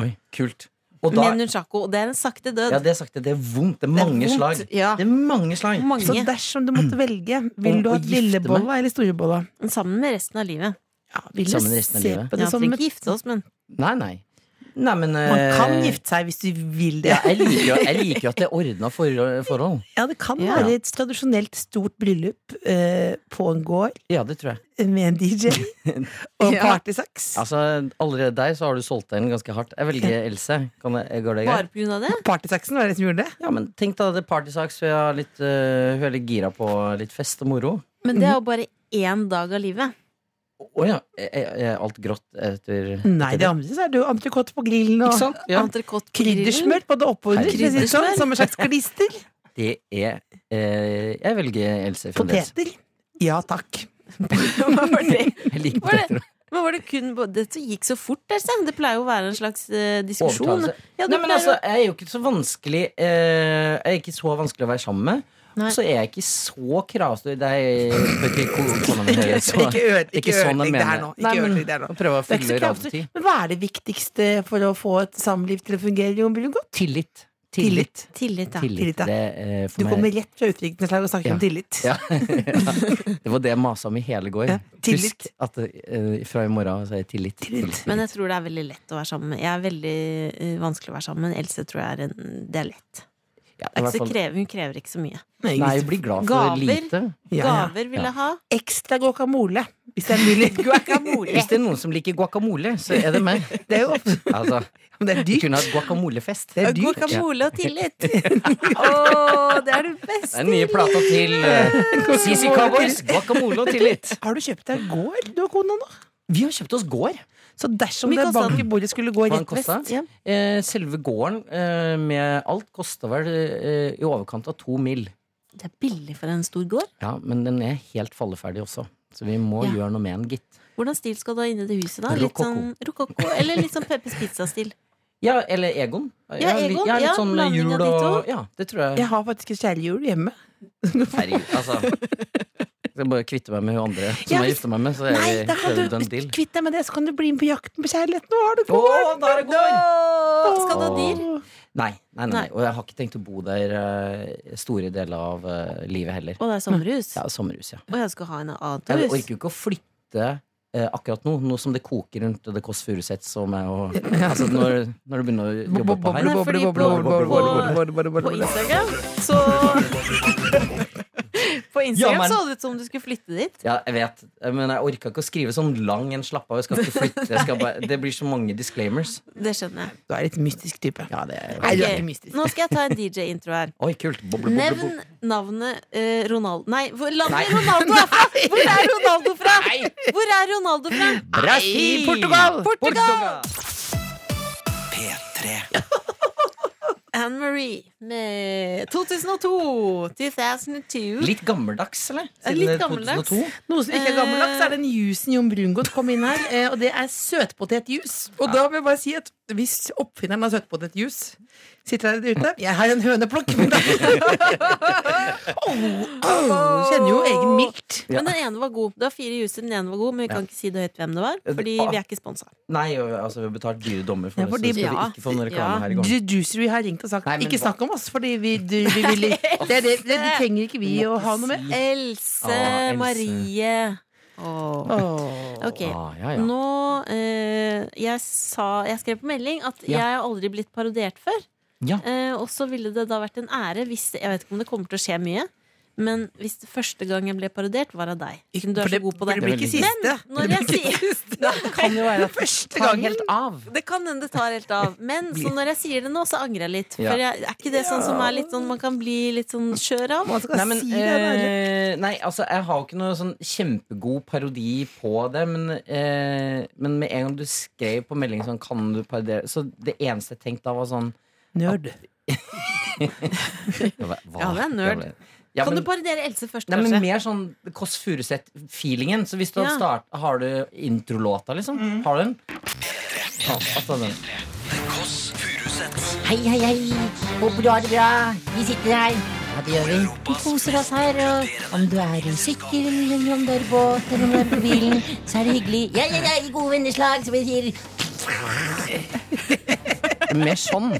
Speaker 5: Oi, kult. Og da
Speaker 2: Med nunchako. Og det er en sakte
Speaker 5: Ja,
Speaker 2: død.
Speaker 5: det er sagt, det er vondt. Det er mange
Speaker 2: vondt,
Speaker 5: slag.
Speaker 2: ja.
Speaker 5: Det er mange slag.
Speaker 3: Så
Speaker 2: Mange.
Speaker 3: dersom du måtte velge, vil
Speaker 5: Å-
Speaker 3: du ha
Speaker 5: å gifte
Speaker 3: lillebolla eller storebolla?
Speaker 2: Sammen med resten av livet.
Speaker 3: Ja, vil du
Speaker 5: Sammen resten av
Speaker 3: se på
Speaker 5: livet.
Speaker 3: det
Speaker 2: Ja,
Speaker 3: som
Speaker 2: trenger ikke gifte oss, men
Speaker 5: Nei, nei. Nei, men
Speaker 3: altså, Man
Speaker 5: eh,
Speaker 3: kan gifte seg hvis du vil det.
Speaker 5: Ja, jeg liker jo, jeg liker jo at det er ordna for, forhold.
Speaker 3: Ja, det kan
Speaker 5: Ja.
Speaker 3: være et tradisjonelt stort bryllup eh, på en gård
Speaker 5: Ja, det tror jeg.
Speaker 3: med en
Speaker 5: [LAUGHS]
Speaker 3: DJ og
Speaker 2: Ja.
Speaker 3: partysaks.
Speaker 5: Altså, Allerede der så har du solgt deg inn ganske hardt. Jeg velger Else. Kan jeg, går det
Speaker 2: bare
Speaker 5: greit?
Speaker 2: pga. det.
Speaker 3: Partysaksen var det som gjorde det.
Speaker 5: Ja, men Tenk da, det er partysaks. Hun er litt, eh, hun er litt gira på litt fest og moro.
Speaker 2: Men det er jo bare én dag av livet.
Speaker 5: Å ja. Er, er- er alt grått etter
Speaker 3: Nei,
Speaker 5: etter
Speaker 3: det andre så er det jo entrecôte på grillen
Speaker 5: Ikke
Speaker 3: og
Speaker 5: sant? Ja.
Speaker 2: Entrecôte på grillen.
Speaker 3: kryddersmør på det oppunder. for å si det sånn,
Speaker 2: Kryddersmør.
Speaker 3: Som en slags glister.
Speaker 5: [LAUGHS] Det er eh, Jeg velger Else fremdeles.
Speaker 3: Poteter. Ja takk.
Speaker 2: [LAUGHS] Hva var det?
Speaker 5: Jeg liker
Speaker 2: Var det-
Speaker 5: poteter.
Speaker 2: Men var det kun på- Dette gikk så fort, der, Stein. Det pleier jo å være en slags eh, diskusjon.
Speaker 5: Overtalelse.
Speaker 2: Ja, det
Speaker 5: Nei, men
Speaker 2: pleier
Speaker 5: altså,
Speaker 2: jo-
Speaker 5: jeg er jo ikke så vanskelig eh, Jeg er ikke så vanskelig å være sammen med.
Speaker 2: Nei.
Speaker 5: Og så er jeg ikke så kravstor. Det er bør ikke ko- kona mi høre, så-
Speaker 3: [LAUGHS] Ikke øde-
Speaker 5: det er
Speaker 3: ikke
Speaker 5: sånn jeg
Speaker 3: ødelegg det her
Speaker 5: mener.
Speaker 3: nå. Ikke
Speaker 5: Nei, men
Speaker 3: ødelegg det her nå.
Speaker 5: å Prøve å
Speaker 3: Det er ikke så
Speaker 5: fylle
Speaker 3: kravstort.
Speaker 5: radiotid.
Speaker 3: Men hva er det viktigste for å få et samliv til å fungere, Jon Brugodt?
Speaker 5: Tillit.
Speaker 3: Tillit.
Speaker 2: Tillit, ja.
Speaker 5: Tillit.
Speaker 3: Tillit, ja.
Speaker 5: Det, eh, for
Speaker 3: Du kommer
Speaker 5: meg,
Speaker 3: rett fra utenrikslag og snakker
Speaker 5: Ja.
Speaker 3: om tillit.
Speaker 5: Ja. [LAUGHS] det var det jeg masa om i hele går.
Speaker 3: Ja, tillit.
Speaker 5: Husk at eh, fra i morgen så er det tillit. tillit.
Speaker 2: Men jeg tror det er veldig lett å være sammen med. Jeg er veldig eh, vanskelig å være sammen med. Else tror jeg er en, det er lett.
Speaker 5: Ja,
Speaker 2: Det er
Speaker 5: i hvert
Speaker 2: ikke så
Speaker 5: fall-
Speaker 2: krev, hun krever ikke så mye.
Speaker 3: Nei,
Speaker 5: Nei, bli glad for
Speaker 2: Gaver.
Speaker 5: lite.
Speaker 3: Ja, ja.
Speaker 2: Gaver vil
Speaker 5: Ja.
Speaker 2: jeg ha.
Speaker 5: [LAUGHS]
Speaker 3: Ekstra guacamole, hvis det er mulig.
Speaker 5: Hvis det er noen som liker guacamole, så er det meg.
Speaker 3: Det er jo ofte
Speaker 5: Altså,
Speaker 3: Men det er
Speaker 5: vi
Speaker 3: dyrt.
Speaker 5: kunne hatt guacamolefest.
Speaker 3: Det er dyrt.
Speaker 2: Guacamole og tillit! Å, det er det
Speaker 5: Det er
Speaker 2: beste!
Speaker 5: den nye plata til eh, CC Cowboys. Guacamole og tillit.
Speaker 3: Har du kjøpt deg gård, du og kona nå?
Speaker 5: Vi har kjøpt oss gård.
Speaker 3: Så dersom
Speaker 2: Hvor mye
Speaker 3: det
Speaker 2: kostet
Speaker 3: bank i bordet skulle gå
Speaker 5: Hva den
Speaker 3: rett
Speaker 5: kosta?
Speaker 3: vest
Speaker 2: ja.
Speaker 5: Eh, selve gården eh, med alt kosta vel eh, i overkant av to mill.
Speaker 2: Det er billig for en stor gård.
Speaker 5: Ja, men den er helt falleferdig også. Så vi må
Speaker 2: Ja.
Speaker 5: gjøre noe med den, gitt.
Speaker 2: Hvordan stil skal du ha inni det huset? da? Litt
Speaker 5: Rokoko.
Speaker 2: sånn rokokko, Eller litt sånn Peppers Pizza-stil?
Speaker 5: Ja, eller Egon.
Speaker 2: Ja,
Speaker 5: li-
Speaker 2: Egon,
Speaker 5: ja, litt
Speaker 2: ja,
Speaker 5: sånn
Speaker 2: blanding
Speaker 5: jul
Speaker 2: av de
Speaker 5: og
Speaker 2: to.
Speaker 5: Ja, det tror jeg.
Speaker 3: Jeg har faktisk et kjærehjul hjemme.
Speaker 5: Herregud, altså. Jeg skal bare kvitte meg med hun andre som
Speaker 3: Ja,
Speaker 5: jeg
Speaker 3: hvis-
Speaker 5: gifter meg med. Så er
Speaker 3: Nei,
Speaker 5: vi
Speaker 3: da kan
Speaker 5: done
Speaker 3: du
Speaker 5: deal.
Speaker 3: kvitte deg med det, så kan du bli med på Jakten på kjærligheten. Nå har du
Speaker 5: Å,
Speaker 3: gård!
Speaker 5: da er det gård!
Speaker 2: Åh, Skal du ha dyr?
Speaker 5: Nei, nei, nei, nei.
Speaker 2: Nei.
Speaker 5: Og jeg har ikke tenkt å bo der eh, store deler av eh, livet heller.
Speaker 2: Og det er sommerhus?
Speaker 5: Ja, sommerhus, ja.
Speaker 2: Og jeg skal ha en annet
Speaker 5: Jeg
Speaker 2: hus?
Speaker 5: orker jo ikke å flytte eh, akkurat nå, nå som det koker rundt The Kåss Furuseth. som er å- Altså, når, når du begynner å jobbe oppå her.
Speaker 2: Nei, fordi På Instagram så [LAUGHS] På Instagram
Speaker 5: Ja, men-
Speaker 2: så det ut som du skulle flytte dit.
Speaker 5: Ja, jeg vet, men jeg orka ikke å skrive sånn lang en slapp av. Jeg skal ikke flytte. Jeg skal bare, det blir så mange disclaimers.
Speaker 2: Det skjønner jeg.
Speaker 3: Du er litt mystisk type.
Speaker 5: Ja, det er,
Speaker 3: Nei, du
Speaker 2: Ok,
Speaker 3: er ikke mystisk.
Speaker 2: Nå skal jeg ta en DJ-intro
Speaker 5: [LAUGHS]
Speaker 2: her.
Speaker 5: Oi, kult. Boble, boble,
Speaker 2: Nevn
Speaker 5: boble.
Speaker 2: navnet eh, Ronald... Nei, hvor, la
Speaker 5: [LAUGHS] Nei.
Speaker 2: meg Ronaldo er fra! Hvor er Ronaldo fra? Hvor er Ronaldo fra?
Speaker 5: Brasil!
Speaker 3: Portugal!
Speaker 2: Portugal!
Speaker 1: P3.
Speaker 2: Anne Marie med 2002. 2002.
Speaker 5: Litt gammeldags, eller?
Speaker 2: Ja,
Speaker 5: Siden
Speaker 2: litt
Speaker 5: det er
Speaker 2: gammeldags.
Speaker 5: 2002.
Speaker 3: Noe som ikke er gammeldags, er den jusen Jon Brungot kom inn her. eh, Og det er søtpotetjus. Og da vil jeg bare si at hvis oppfinneren av søtpotetjus sitter her ute Jeg har en høneplukk! Men da. oh, oh, kjenner jo egen mildt.
Speaker 5: Ja.
Speaker 2: Men den ene var god. Det var fire juicer, den ene var god, men vi kan ikke si det høyt hvem det var. Fordi vi er ikke sponsa.
Speaker 5: Nei, jo, altså, vi har betalt dyre dommer for
Speaker 3: Ja,
Speaker 5: det, så
Speaker 3: fordi-
Speaker 5: skal vi
Speaker 2: Ja.
Speaker 5: ikke få
Speaker 2: Ja.
Speaker 5: noen reklame her i gang.
Speaker 3: Ju- Juicery har ringt og sagt
Speaker 5: Nei, men
Speaker 3: ikke
Speaker 5: hva-
Speaker 3: snakk om oss, fordi vi, du, vi vil, det, er det, det trenger ikke vi å ha noe med.
Speaker 2: Else
Speaker 5: Ah, Else.
Speaker 2: Marie. Åh.
Speaker 3: Åh.
Speaker 2: Ok.
Speaker 5: Ah, ja, ja.
Speaker 2: Nå eh, jeg, sa, jeg skrev på melding at
Speaker 5: Ja.
Speaker 2: jeg har aldri blitt parodiert før.
Speaker 5: Ja.
Speaker 2: Eh, og så ville det da vært en ære hvis Jeg vet ikke om det kommer til å skje mye. Men hvis det første gang jeg ble parodiert, var av deg. Siden Du er så god på det.
Speaker 3: Det blir ikke siste.
Speaker 2: Når jeg sier [LAUGHS]
Speaker 3: Det
Speaker 5: Kan jo være at
Speaker 3: Første
Speaker 5: tar
Speaker 3: gangen.
Speaker 5: helt av.
Speaker 2: Det kan hende det tar helt av. Men så når jeg sier det nå, så angrer jeg litt.
Speaker 5: Ja.
Speaker 2: For jeg, er ikke det sånn som er litt sånn man kan bli litt sånn skjør av?
Speaker 3: Man skal
Speaker 5: Nei, men,
Speaker 3: si det. det er det.
Speaker 5: eh, nei, altså, jeg har jo ikke noe sånn kjempegod parodi på det, men, eh, men med en gang du skrev på melding sånn, kan du parodiere Så det eneste jeg tenkte da, var sånn
Speaker 3: Nerd.
Speaker 5: hva,
Speaker 2: Ja, det er nerd.
Speaker 5: Ja,
Speaker 2: Kan
Speaker 5: men,
Speaker 2: du parodiere Else først,
Speaker 5: Nei, men
Speaker 2: kanskje?
Speaker 5: mer sånn Kåss Furuseth-feelingen. Så hvis du
Speaker 2: Ja. Mm.
Speaker 5: har start, Har du introlåta, liksom? Har du den? Ja, altså den.
Speaker 1: The Kåss Furuseths.
Speaker 5: Hei, hei, hei. Håper du har det bra. Vi sitter her. Ja, det gjør vi.
Speaker 1: Europas
Speaker 6: koser oss her. Og om du er i sykkel, eller om du er i båt, eller om du er på bilen, så er det hyggelig. Ja, ja, ja, i gode venneslag, som vi sier.
Speaker 5: Mer sånn.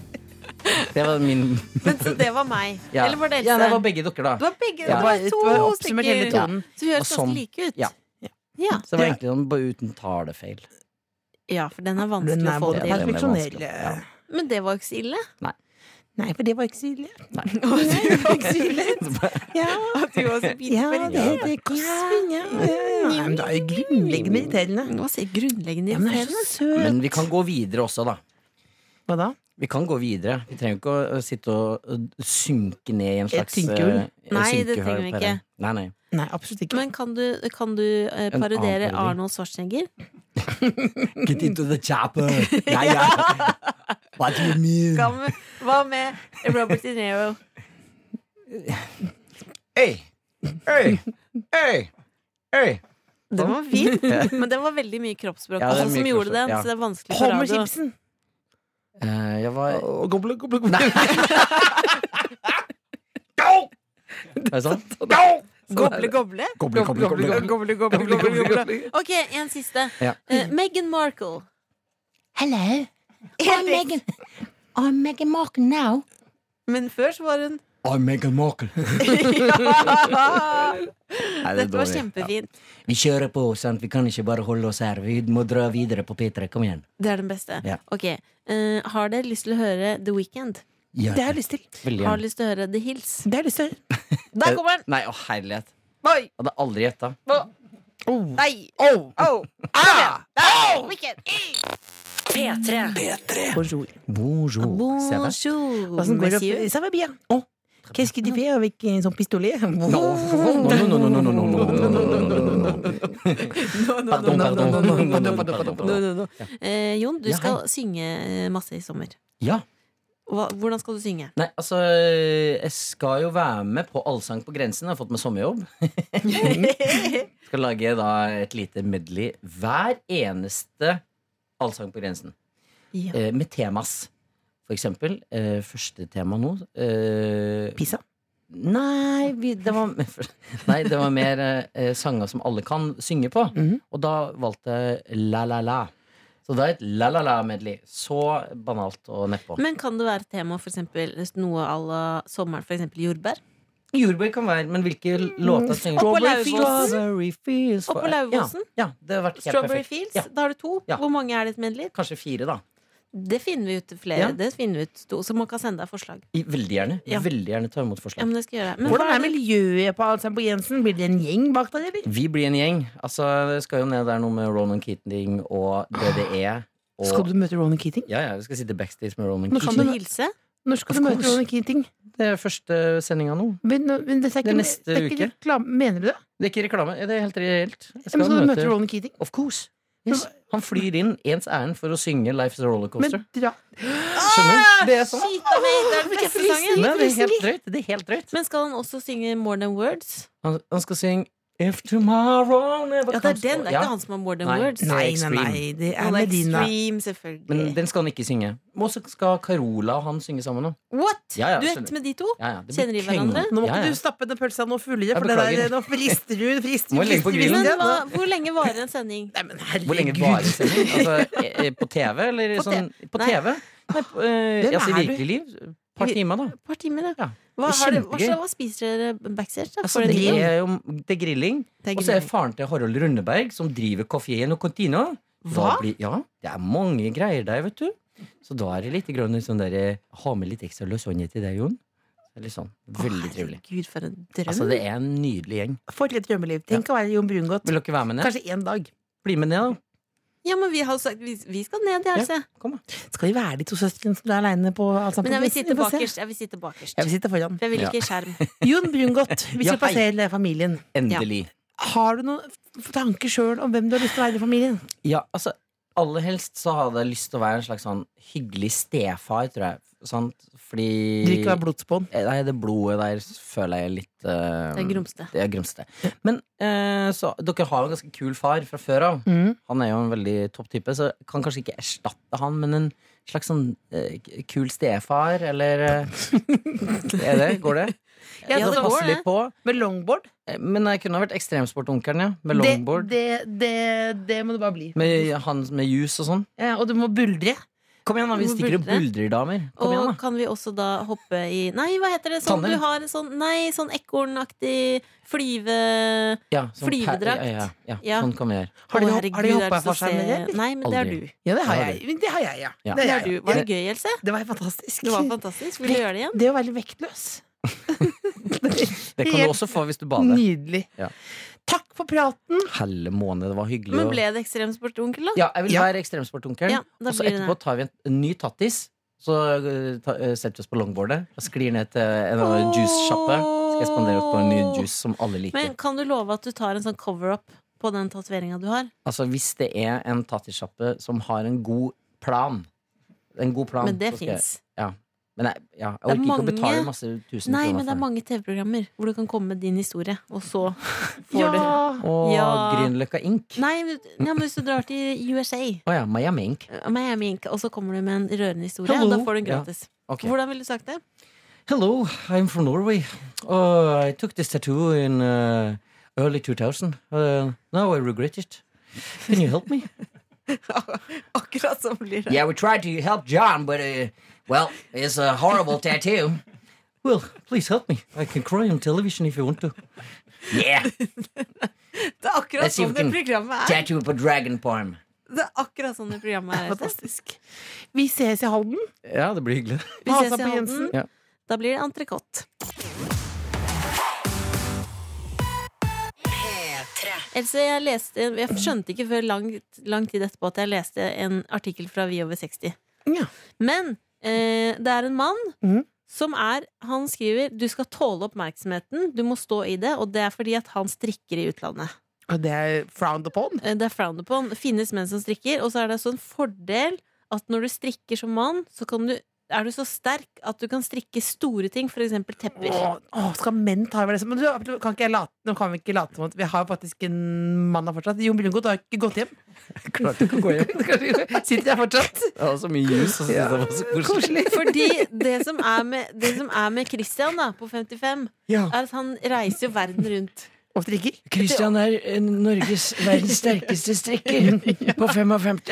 Speaker 5: Det var min
Speaker 2: Men så det var meg.
Speaker 5: ja.
Speaker 2: Eller var det Else?
Speaker 5: Ja, det var begge dere, da.
Speaker 2: Det var begge.
Speaker 5: Ja.
Speaker 2: Det var
Speaker 3: Det
Speaker 2: to
Speaker 3: var oppsummert hele
Speaker 2: stykker.
Speaker 3: tonen.
Speaker 2: Så vi
Speaker 5: Og
Speaker 2: høres
Speaker 5: sånn-
Speaker 2: ganske like ut.
Speaker 5: Ja.
Speaker 2: Ja.
Speaker 5: Så det var egentlig sånn, bare uten talefeil.
Speaker 2: Ja, for den er
Speaker 3: Den
Speaker 2: vanskelig
Speaker 3: er
Speaker 2: å få
Speaker 3: både
Speaker 5: Ja, den
Speaker 2: til.
Speaker 5: er
Speaker 3: perfeksjonell.
Speaker 5: vanskelig. Ja.
Speaker 2: Men det var jo ikke så ille.
Speaker 3: Nei, for det var ikke så ille.
Speaker 5: Nei.
Speaker 3: Det var ikke så ille. Ja,
Speaker 2: [LAUGHS] At du var så
Speaker 3: ja det
Speaker 2: pinlig.
Speaker 3: heter Cosmin, ja. ja, ja. Nei, men det er jo grunnleggende irriterende.
Speaker 2: Nå sier jeg grunnleggende
Speaker 3: Ja, men det er så søt.
Speaker 2: irriterende.
Speaker 5: Men vi kan gå videre også, da.
Speaker 3: Hva da?
Speaker 5: Vi kan gå videre. Vi trenger ikke å øh, sitte og øh, synke ned i en
Speaker 3: Et
Speaker 5: slags
Speaker 3: synkehull?
Speaker 5: øh, et
Speaker 2: Nei, det
Speaker 5: synkehull
Speaker 2: trenger vi
Speaker 5: på
Speaker 2: ikke.
Speaker 5: det. Nei, nei.
Speaker 3: Nei, absolutt ikke.
Speaker 2: Men kan du, kan du eh,
Speaker 5: annen
Speaker 2: parodiere
Speaker 5: parodi.
Speaker 2: Arnold Schwarzenegger?
Speaker 5: Get into the [LAUGHS] chapel! Ja, ja. What do you mean?
Speaker 2: Hva med, hva med Robert De Niro?
Speaker 5: Hey. Hey. Hey. Hey.
Speaker 2: Den var fin, men det var veldig mye kroppsspråk
Speaker 5: Ja, det er
Speaker 2: også
Speaker 5: mye
Speaker 2: som gjorde
Speaker 5: kroppsspråk,
Speaker 2: den,
Speaker 5: ja.
Speaker 2: så det er vanskelig for
Speaker 3: Homer
Speaker 2: radio.
Speaker 3: Simpson.
Speaker 5: Eh, jeg var [LAUGHS] Er det sant?
Speaker 2: Goble, goble.
Speaker 5: Goble, goble, goble, goble.
Speaker 3: goble, goble, goble, goble.
Speaker 2: Ok, en siste.
Speaker 5: Ja.
Speaker 2: Eh, Meghan Markle. [LAUGHS]
Speaker 6: Hello. I'm Megan. I'm Megan Mark now.
Speaker 2: Men før så var hun
Speaker 5: I'm Meghan Markle. Nei, det er
Speaker 2: Dette var
Speaker 5: dårlig.
Speaker 2: kjempefint.
Speaker 5: Vi kjører på, sant? Vi kan ikke bare holde oss her. Vi må dra videre på P3. Kom igjen.
Speaker 2: Det er den beste.
Speaker 5: Ja.
Speaker 2: Ok, eh, Har dere lyst til å høre The Weekend?
Speaker 5: Ja,
Speaker 3: Det har jeg lyst til.
Speaker 5: veldig
Speaker 2: Har
Speaker 5: gjerne.
Speaker 2: dere lyst til å høre The Hills?
Speaker 3: Det har jeg lyst til.
Speaker 2: Der kommer den!
Speaker 5: Nei, å herlighet.
Speaker 2: Oi!
Speaker 5: Hadde aldri gjetta.
Speaker 3: Oh.
Speaker 2: Nei!
Speaker 3: Oh.
Speaker 2: Oh!
Speaker 3: Ah!
Speaker 2: Der! Weekend!
Speaker 1: P3.
Speaker 3: Bonjour.
Speaker 5: Bonjour. Ça va?
Speaker 2: Bonjour,
Speaker 3: Hvordan går det
Speaker 2: monsieur.
Speaker 3: opp? Ça va bien. Oh. Qu'est-ce que tu fais avec euh, son pistolet?
Speaker 5: Non, non, non, non, non, non, non, non, non, non, non, non, non. Pardon, pardon.
Speaker 3: No, no, no.
Speaker 2: Eh, Jon, du
Speaker 5: Ja,
Speaker 2: skal synge eh, masse i sommer.
Speaker 5: Ja.
Speaker 2: Hva, hvordan skal du synge?
Speaker 5: Nei, altså Jeg skal jo være med på Allsang på grensen. Jeg har fått meg sommerjobb.
Speaker 3: [LAUGHS]
Speaker 5: skal lage da et lite medley hver eneste Allsang på grensen.
Speaker 2: Ja.
Speaker 5: Eh, med temas. For eksempel eh, første tema nå eh,
Speaker 3: Pizza.
Speaker 5: Nei, vi, det var Nei, det var mer eh, sanger som alle kan synge på.
Speaker 3: Mhm.
Speaker 5: Og da valgte jeg La La La. Så det er et La La La-medley. Så banalt og nedpå.
Speaker 2: Men kan det være tema for eksempel noe à la sommeren, for eksempel jordbær?
Speaker 5: Jordbær kan være, men hvilke låter synger
Speaker 2: Oppå
Speaker 5: Mm.
Speaker 2: Lauvåsen.
Speaker 5: Strawberry Fields. Strawberry Fields.
Speaker 2: Oppå Lauvåsen.
Speaker 5: Ja, ja, det har vært helt
Speaker 2: Strawberry
Speaker 5: perfekt.
Speaker 2: Fields?
Speaker 5: Ja.
Speaker 2: Da har du to.
Speaker 5: Ja.
Speaker 2: Hvor mange er det et medley?
Speaker 5: Kanskje fire, da.
Speaker 2: Det finner vi ut flere.
Speaker 5: Ja.
Speaker 2: Det finner vi ut to, Så man kan sende deg forslag.
Speaker 5: I- Veldig gjerne.
Speaker 2: Ja.
Speaker 5: Veldig gjerne ta imot forslag.
Speaker 2: Ja, men det skal jeg gjøre. Men
Speaker 3: Hvordan
Speaker 2: hva
Speaker 3: er miljøet på Alzheimer på Jensen? Blir det en gjeng bak deg, eller?
Speaker 5: Vi blir en gjeng. Altså, det skal jo ned der noe med Ronan Keating og DDE. Og,
Speaker 3: Skal du møte Ronan Keating?
Speaker 5: Ja, ja, vi skal sitte backstage med Ronan
Speaker 3: Nå
Speaker 2: Kan
Speaker 5: Keating.
Speaker 3: Keating.
Speaker 2: du hilse?
Speaker 3: Når skal
Speaker 5: Of
Speaker 3: du møte
Speaker 5: course.
Speaker 3: Ronan Keating?
Speaker 5: Det er første sendinga nå.
Speaker 3: Men, nå- men dette er ikke,
Speaker 5: Det er
Speaker 3: det
Speaker 5: neste
Speaker 3: er ikke
Speaker 5: uke.
Speaker 3: reklame. Mener du det?
Speaker 5: Det er ikke reklame. Det er helt reelt. Jeg
Speaker 3: Skal, men
Speaker 5: skal
Speaker 3: skal du
Speaker 5: møte-
Speaker 3: møte Ronan Keating?
Speaker 5: Of course. Yes. Han flyr inn ens ærend for å synge Life is a
Speaker 3: Men
Speaker 5: Rollercoaster.
Speaker 3: dra
Speaker 5: Skjønner
Speaker 2: Ah,
Speaker 5: du? Det er sånn.
Speaker 2: Skit om jeg ikke er den beste sangen.
Speaker 5: Nei, det er helt drøyt. Det er helt drøyt.
Speaker 2: Men skal han også synge More Than Words?
Speaker 5: Han, han skal synge If tomorrow never
Speaker 2: Ja, det er
Speaker 5: comes
Speaker 2: den. Det er
Speaker 5: Ja,
Speaker 2: ikke han som har More Than
Speaker 5: Nei.
Speaker 2: Words.
Speaker 5: Nei.
Speaker 3: det
Speaker 2: Han er Extreme,
Speaker 5: Men
Speaker 2: selvfølgelig.
Speaker 5: den skal han ikke synge. Og så skal Carola og han synge sammen nå.
Speaker 2: What?
Speaker 5: Ja, ja,
Speaker 2: Duett
Speaker 5: skjønner.
Speaker 2: med de to?
Speaker 5: Ja, ja, det blir
Speaker 2: Kjenner de hverandre?
Speaker 5: krangling.
Speaker 3: Nå må ikke
Speaker 5: Ja, ja.
Speaker 3: du stappe den pølsa noe fullere,
Speaker 5: Jeg
Speaker 3: for det der,
Speaker 5: beklager.
Speaker 3: nå frister du frister,
Speaker 5: Må jeg legge på
Speaker 3: frister,
Speaker 5: grillen?
Speaker 3: frister.
Speaker 2: Men hva, hvor lenge varer en sending?
Speaker 3: Nei, men
Speaker 5: Hvor lenge
Speaker 3: herregud.
Speaker 5: varer
Speaker 3: [LAUGHS]
Speaker 5: sending?
Speaker 2: [LAUGHS]
Speaker 5: Altså, eh, eh, på TV, eller
Speaker 2: På
Speaker 5: sånn På
Speaker 2: Nei.
Speaker 5: TV? Nei, på, eh,
Speaker 3: Hvem
Speaker 5: altså i
Speaker 3: er du?
Speaker 5: virkelig liv. Et par timer, da.
Speaker 2: Et par timer, da.
Speaker 5: Ja.
Speaker 2: Hva,
Speaker 5: Det er
Speaker 2: har dere- hva,
Speaker 5: kjempegøy.
Speaker 2: slags- hva spiser dere backstage? Da,
Speaker 5: Altså,
Speaker 2: for
Speaker 5: det,
Speaker 2: en
Speaker 5: er jo, det er grilling. Og så er faren til Harald Rundeberg, som driver kafeen og kantina. Da
Speaker 2: Hva?
Speaker 5: blir- ja, det er mange greier der, vet du. Så da er det litt grann sånn der eh, Ha med litt ekstra lasagne til deg, Jon. Det er Litt sånn. Veldig trivelig.
Speaker 2: Gud, for en drøm.
Speaker 5: Altså, det er en nydelig gjeng.
Speaker 3: For et drømmeliv. Tenk å være Jon Brungot.
Speaker 5: Vil dere være med ned?
Speaker 3: Kanskje en dag.
Speaker 5: Bli med ned, da.
Speaker 2: ja, men vi har sagt vi, vi skal ned, jeg,
Speaker 5: Ja.
Speaker 2: altså.
Speaker 5: Kom, da.
Speaker 3: Skal vi være de to søstrene som er aleine på Alzheimer?
Speaker 2: Men jeg vil sitte
Speaker 3: Vi får se.
Speaker 2: bakerst. Jeg vil sitte bakerst.
Speaker 3: Jeg vil sitte foran.
Speaker 2: For jeg vil
Speaker 5: Ja.
Speaker 2: ikke i
Speaker 5: [LAUGHS]
Speaker 2: skjerm.
Speaker 3: Jon Brungot, vi
Speaker 5: Ja,
Speaker 3: skal
Speaker 5: hei.
Speaker 3: plassere familien.
Speaker 5: Endelig.
Speaker 3: Har du noen f- tanker sjøl om hvem du har lyst til å være i familien?
Speaker 5: Ja, altså Aller helst så hadde jeg lyst til å være en slags sånn hyggelig stefar, tror jeg. Sant? Fordi
Speaker 3: Du vil ikke være blodsbånd.
Speaker 5: Eh, Nei, det blodet der føler jeg er litt eh,
Speaker 2: Det er grumsete.
Speaker 5: Det er grumsete. Men eh, så dere har jo en ganske kul far fra før av.
Speaker 3: Mm.
Speaker 5: Han er jo en veldig topp type, så jeg kan kanskje ikke erstatte han, men en slags sånn eh, k- kul stefar, eller eh, Er det? Går [LAUGHS] det?
Speaker 2: Ja,
Speaker 5: Jeg
Speaker 2: det
Speaker 5: må
Speaker 2: går,
Speaker 5: passe
Speaker 2: det.
Speaker 5: litt på.
Speaker 3: Med longboard?
Speaker 5: Eh, Men jeg kunne ha vært ekstremsportonkelen, ja. Med longboard.
Speaker 3: Det, det, det, det må du bare bli.
Speaker 5: Med han med jus og sånn.
Speaker 3: Ja, og du må buldre.
Speaker 5: Kom igjen, da. Vi
Speaker 2: Hvor
Speaker 5: stikker og
Speaker 2: buldrer?
Speaker 5: buldrer, damer. Kom
Speaker 2: Og
Speaker 5: igjen, da.
Speaker 2: kan vi også da hoppe i Nei, hva heter det? Sånn
Speaker 5: Tandem.
Speaker 2: du har en sånn Nei, sånn ekornaktig flyve...
Speaker 5: Ja, sånn per-
Speaker 2: flyvedrakt.
Speaker 5: Ja, ja, ja.
Speaker 2: Ja.
Speaker 5: Sånn kan vi gjøre.
Speaker 3: Har du,
Speaker 2: Å,
Speaker 3: har
Speaker 2: herregud,
Speaker 3: du
Speaker 2: er
Speaker 3: hoppa
Speaker 2: så
Speaker 3: for seg med det?
Speaker 2: se-
Speaker 3: eller?
Speaker 2: Nei, men det er
Speaker 5: Aldri.
Speaker 2: du.
Speaker 3: Ja, det har
Speaker 5: Det har
Speaker 3: jeg. Men Det har jeg, ja.
Speaker 5: Ja.
Speaker 3: Det, har
Speaker 2: Det, er
Speaker 3: jeg.
Speaker 2: du. Var det gøy, Else?
Speaker 3: det var fantastisk.
Speaker 2: Det var fantastisk. Vil du gjøre det igjen?
Speaker 3: Det å være vektløs.
Speaker 5: [LAUGHS] Det kan du også få hvis du bader.
Speaker 2: Mm.
Speaker 3: Nydelig.
Speaker 5: Ja.
Speaker 3: Takk for praten.
Speaker 5: Helle måned, det var hyggelig.
Speaker 2: Men
Speaker 5: å-
Speaker 2: ble det ekstremsport, onkel, da?
Speaker 5: Ja, jeg vil
Speaker 3: Ja.
Speaker 5: være ekstremsportonkelen.
Speaker 2: Ja, da
Speaker 5: og så
Speaker 2: blir det
Speaker 5: Altså, etterpå
Speaker 2: det.
Speaker 5: tar vi en, en ny tattis. Så eh, ta, eh, setter vi oss på longboardet og sklir ned til en av en juice-sjappe. Skal jeg spandere oss på en ny juice som alle liker.
Speaker 2: Men kan du love at du tar en sånn cover-up på den tatoveringa du har?
Speaker 5: Altså Hvis det er en tattissjappe som har en god plan En god plan
Speaker 2: Men det
Speaker 5: så skal jeg-
Speaker 2: fins.
Speaker 5: Men jeg, ja, jeg
Speaker 2: er
Speaker 5: orker ikke å
Speaker 2: mange-
Speaker 5: betale masse tusen
Speaker 2: Nei, men
Speaker 5: kroner
Speaker 2: det er
Speaker 5: for det.
Speaker 2: mange TV-programmer hvor du kan komme med din historie, og så får
Speaker 3: Ja.
Speaker 2: du
Speaker 5: Å,
Speaker 2: Ja.
Speaker 5: Grünerløkka Ink. Å
Speaker 2: Nei, men- ja, men hvis du drar til USA, uh,
Speaker 5: ja, Miami Ink.
Speaker 2: Miami Ink, og så kommer du med en rørende historie,
Speaker 5: Hello.
Speaker 2: da får du den
Speaker 5: Ja.
Speaker 2: gratis.
Speaker 5: Ok.
Speaker 2: Hvordan ville du sagt det?
Speaker 5: Hello, I'm from Norway. Uh, I took this tattoo in uh, early 2000. Uh, now I regret it. Can you help me?
Speaker 2: Akkurat som blir det.
Speaker 5: [LAUGHS] Yeah, we tried to help John, but uh, well, it's a horrible tattoo. Well, please help me. I can cry on television if you want to. Yeah,
Speaker 2: Det er akkurat
Speaker 5: Let's see
Speaker 2: sånn
Speaker 5: if we
Speaker 2: det
Speaker 5: can
Speaker 2: programmet er.
Speaker 5: tattoo på dragon palm.
Speaker 2: Det er akkurat sånn det
Speaker 5: [LAUGHS]
Speaker 2: programmet er. Else.
Speaker 3: Fantastisk. Vi ses i Halden.
Speaker 5: Ja, det blir hyggelig.
Speaker 2: Vi
Speaker 3: Ha
Speaker 2: ses
Speaker 3: seg
Speaker 2: i
Speaker 3: på
Speaker 2: Halden.
Speaker 3: Jensen.
Speaker 5: Ja.
Speaker 2: Da blir det entrecôte. Else, jeg, leste, jeg skjønte ikke før lang, lang tid etterpå at jeg leste en artikkel fra Vi over 60.
Speaker 3: Ja.
Speaker 2: Men eh, det er en mann
Speaker 3: Mhm.
Speaker 2: som er Han skriver du skal tåle oppmerksomheten, du må stå i det, og det er fordi at han strikker i utlandet.
Speaker 3: Og det er frowned upon.
Speaker 2: Eh, Det er frowned upon. Finnes menn som strikker, og så er det også en fordel at når du strikker som mann, så kan du er du så sterk at du kan strikke store ting, f.eks. tepper.
Speaker 3: Åh, åh, skal menn ta over det? Men du, kan ikke jeg late, nå kan vi ikke late som at vi har faktisk en mann her fortsatt. Jon Brungot har ikke gått hjem.
Speaker 5: [LAUGHS] Klarte ikke å
Speaker 3: [LAUGHS]
Speaker 5: gå hjem.
Speaker 3: Sitter jeg fortsatt?
Speaker 5: Det var så mye jus. Og så det var så koselig.
Speaker 2: Fordi det som er med, det som er med Christian da, på 55,
Speaker 3: Ja.
Speaker 2: er at han reiser jo verden rundt.
Speaker 3: Og strikker?
Speaker 5: Christian er eh, Norges verdens sterkeste [LAUGHS] strikker på 55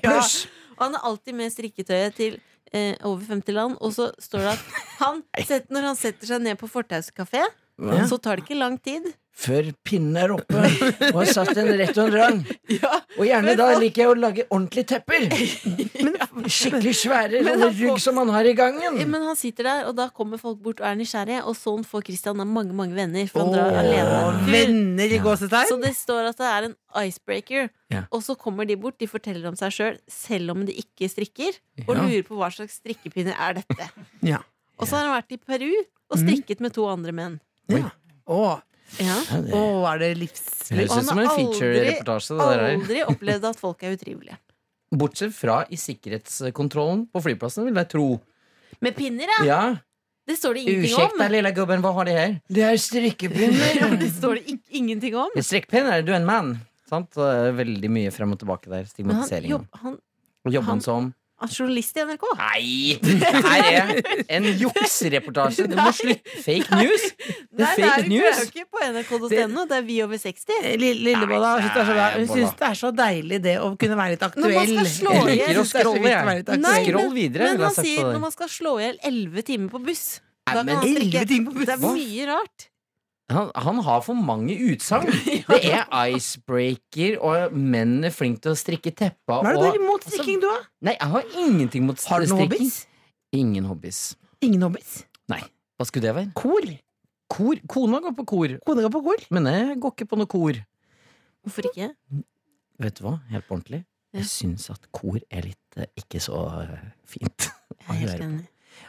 Speaker 5: pluss.
Speaker 2: Og han er alltid med strikketøyet til eh, over 50 land. Og så står det at han set, når han setter seg ned på Fortauskafé,
Speaker 5: Hva?
Speaker 2: så tar det ikke lang tid.
Speaker 5: Før pinnen er oppe og har satt en rett og en rang. Og gjerne da liker jeg å lage ordentlige tepper. Skikkelig svære,
Speaker 2: Men
Speaker 5: sånne
Speaker 2: han får-
Speaker 5: rugg som man har i gangen.
Speaker 2: Eh, Men han sitter der, og da kommer folk bort og er nysgjerrige. Og sånn får Christian da mange mange venner, for han drar
Speaker 3: Åh,
Speaker 2: alene. Full.
Speaker 3: venner i
Speaker 2: Så
Speaker 3: gåsetegn?
Speaker 2: det står at det er en icebreaker.
Speaker 5: Ja.
Speaker 2: Og så kommer de bort, de forteller om seg sjøl, selv, om de ikke strikker. Og
Speaker 5: Ja.
Speaker 2: lurer på hva slags strikkepinner er dette.
Speaker 3: Ja.
Speaker 2: Og så har han vært i Peru og strikket med to andre menn.
Speaker 3: ja. Åh,
Speaker 2: Ja.
Speaker 5: Ja, det
Speaker 3: åh, er det livsløst?
Speaker 5: høres ut som en
Speaker 2: aldri-
Speaker 5: feature-reportasje. det der her.
Speaker 2: Aldri opplevd at folk er utrivelige.
Speaker 5: Bortsett fra i sikkerhetskontrollen på flyplassen, vil jeg tro.
Speaker 2: Med pinner, ja!
Speaker 5: Ja,
Speaker 2: Det står det ingenting
Speaker 5: Usjekk
Speaker 2: om.
Speaker 5: deg, lille gubben, hva har de her? Det er strikkepinner.
Speaker 2: [LAUGHS] Ja, det står det ing- ingenting om.
Speaker 5: Strikkepinner, du er [LAUGHS] en mann. Sant? Så det er Veldig mye frem og tilbake der.
Speaker 2: Men han,
Speaker 5: Stigmatisering.
Speaker 2: jobb, han
Speaker 5: Og jobber
Speaker 2: han-
Speaker 5: han som
Speaker 2: er journalist i NRK.
Speaker 5: Nei! Her er en juksereportasje. Du må slutte. Fake news! Det
Speaker 2: Nei,
Speaker 5: er fake
Speaker 2: det er jo
Speaker 5: news! Eh,
Speaker 2: ikke på nrk.no. Det er Vi over 60.
Speaker 3: Eh, Lille- Lillebolla hun synes det er så bra. Hun
Speaker 5: Nei,
Speaker 3: syns det er så deilig det å kunne være litt aktuell.
Speaker 2: Når man skal slå
Speaker 3: Jeg
Speaker 2: igjen.
Speaker 3: synes det er så viktig å være litt aktuell.
Speaker 2: Nei,
Speaker 5: Skroll
Speaker 2: men- Men
Speaker 5: videre. vil jeg
Speaker 2: han
Speaker 5: ha sagt
Speaker 2: sier
Speaker 5: på
Speaker 2: når
Speaker 5: det.
Speaker 2: man skal slå i hjel 11 timer på buss.
Speaker 5: Nei,
Speaker 2: Da kan
Speaker 5: men
Speaker 2: han
Speaker 3: Elleve
Speaker 2: strikke.
Speaker 3: ting på
Speaker 2: Det er
Speaker 3: bussen!
Speaker 2: mye rart.
Speaker 5: han, han har for mange
Speaker 3: [LAUGHS]
Speaker 5: utsagn. Det er icebreaker, og menn er flinke til å strikke teppa.
Speaker 3: Hva er det du har
Speaker 5: Og,
Speaker 3: imot
Speaker 2: Altså,
Speaker 3: strikking, du, da?
Speaker 5: nei, jeg har ingenting mot
Speaker 3: Har du noen
Speaker 5: strikking.
Speaker 3: hobbies?
Speaker 5: Ingen hobbies.
Speaker 3: Ingen hobbies?
Speaker 5: Nei. Hva skulle det være?
Speaker 3: Kor?
Speaker 5: Kor. Kona går på kor,
Speaker 3: Kona går på kor?
Speaker 5: men jeg går ikke på noe kor.
Speaker 2: Hvorfor ikke?
Speaker 5: Vet du hva? Helt på ordentlig.
Speaker 2: Ja.
Speaker 5: Jeg syns at kor er litt eh, ikke så eh, fint. [LAUGHS]
Speaker 2: Jeg er helt enig.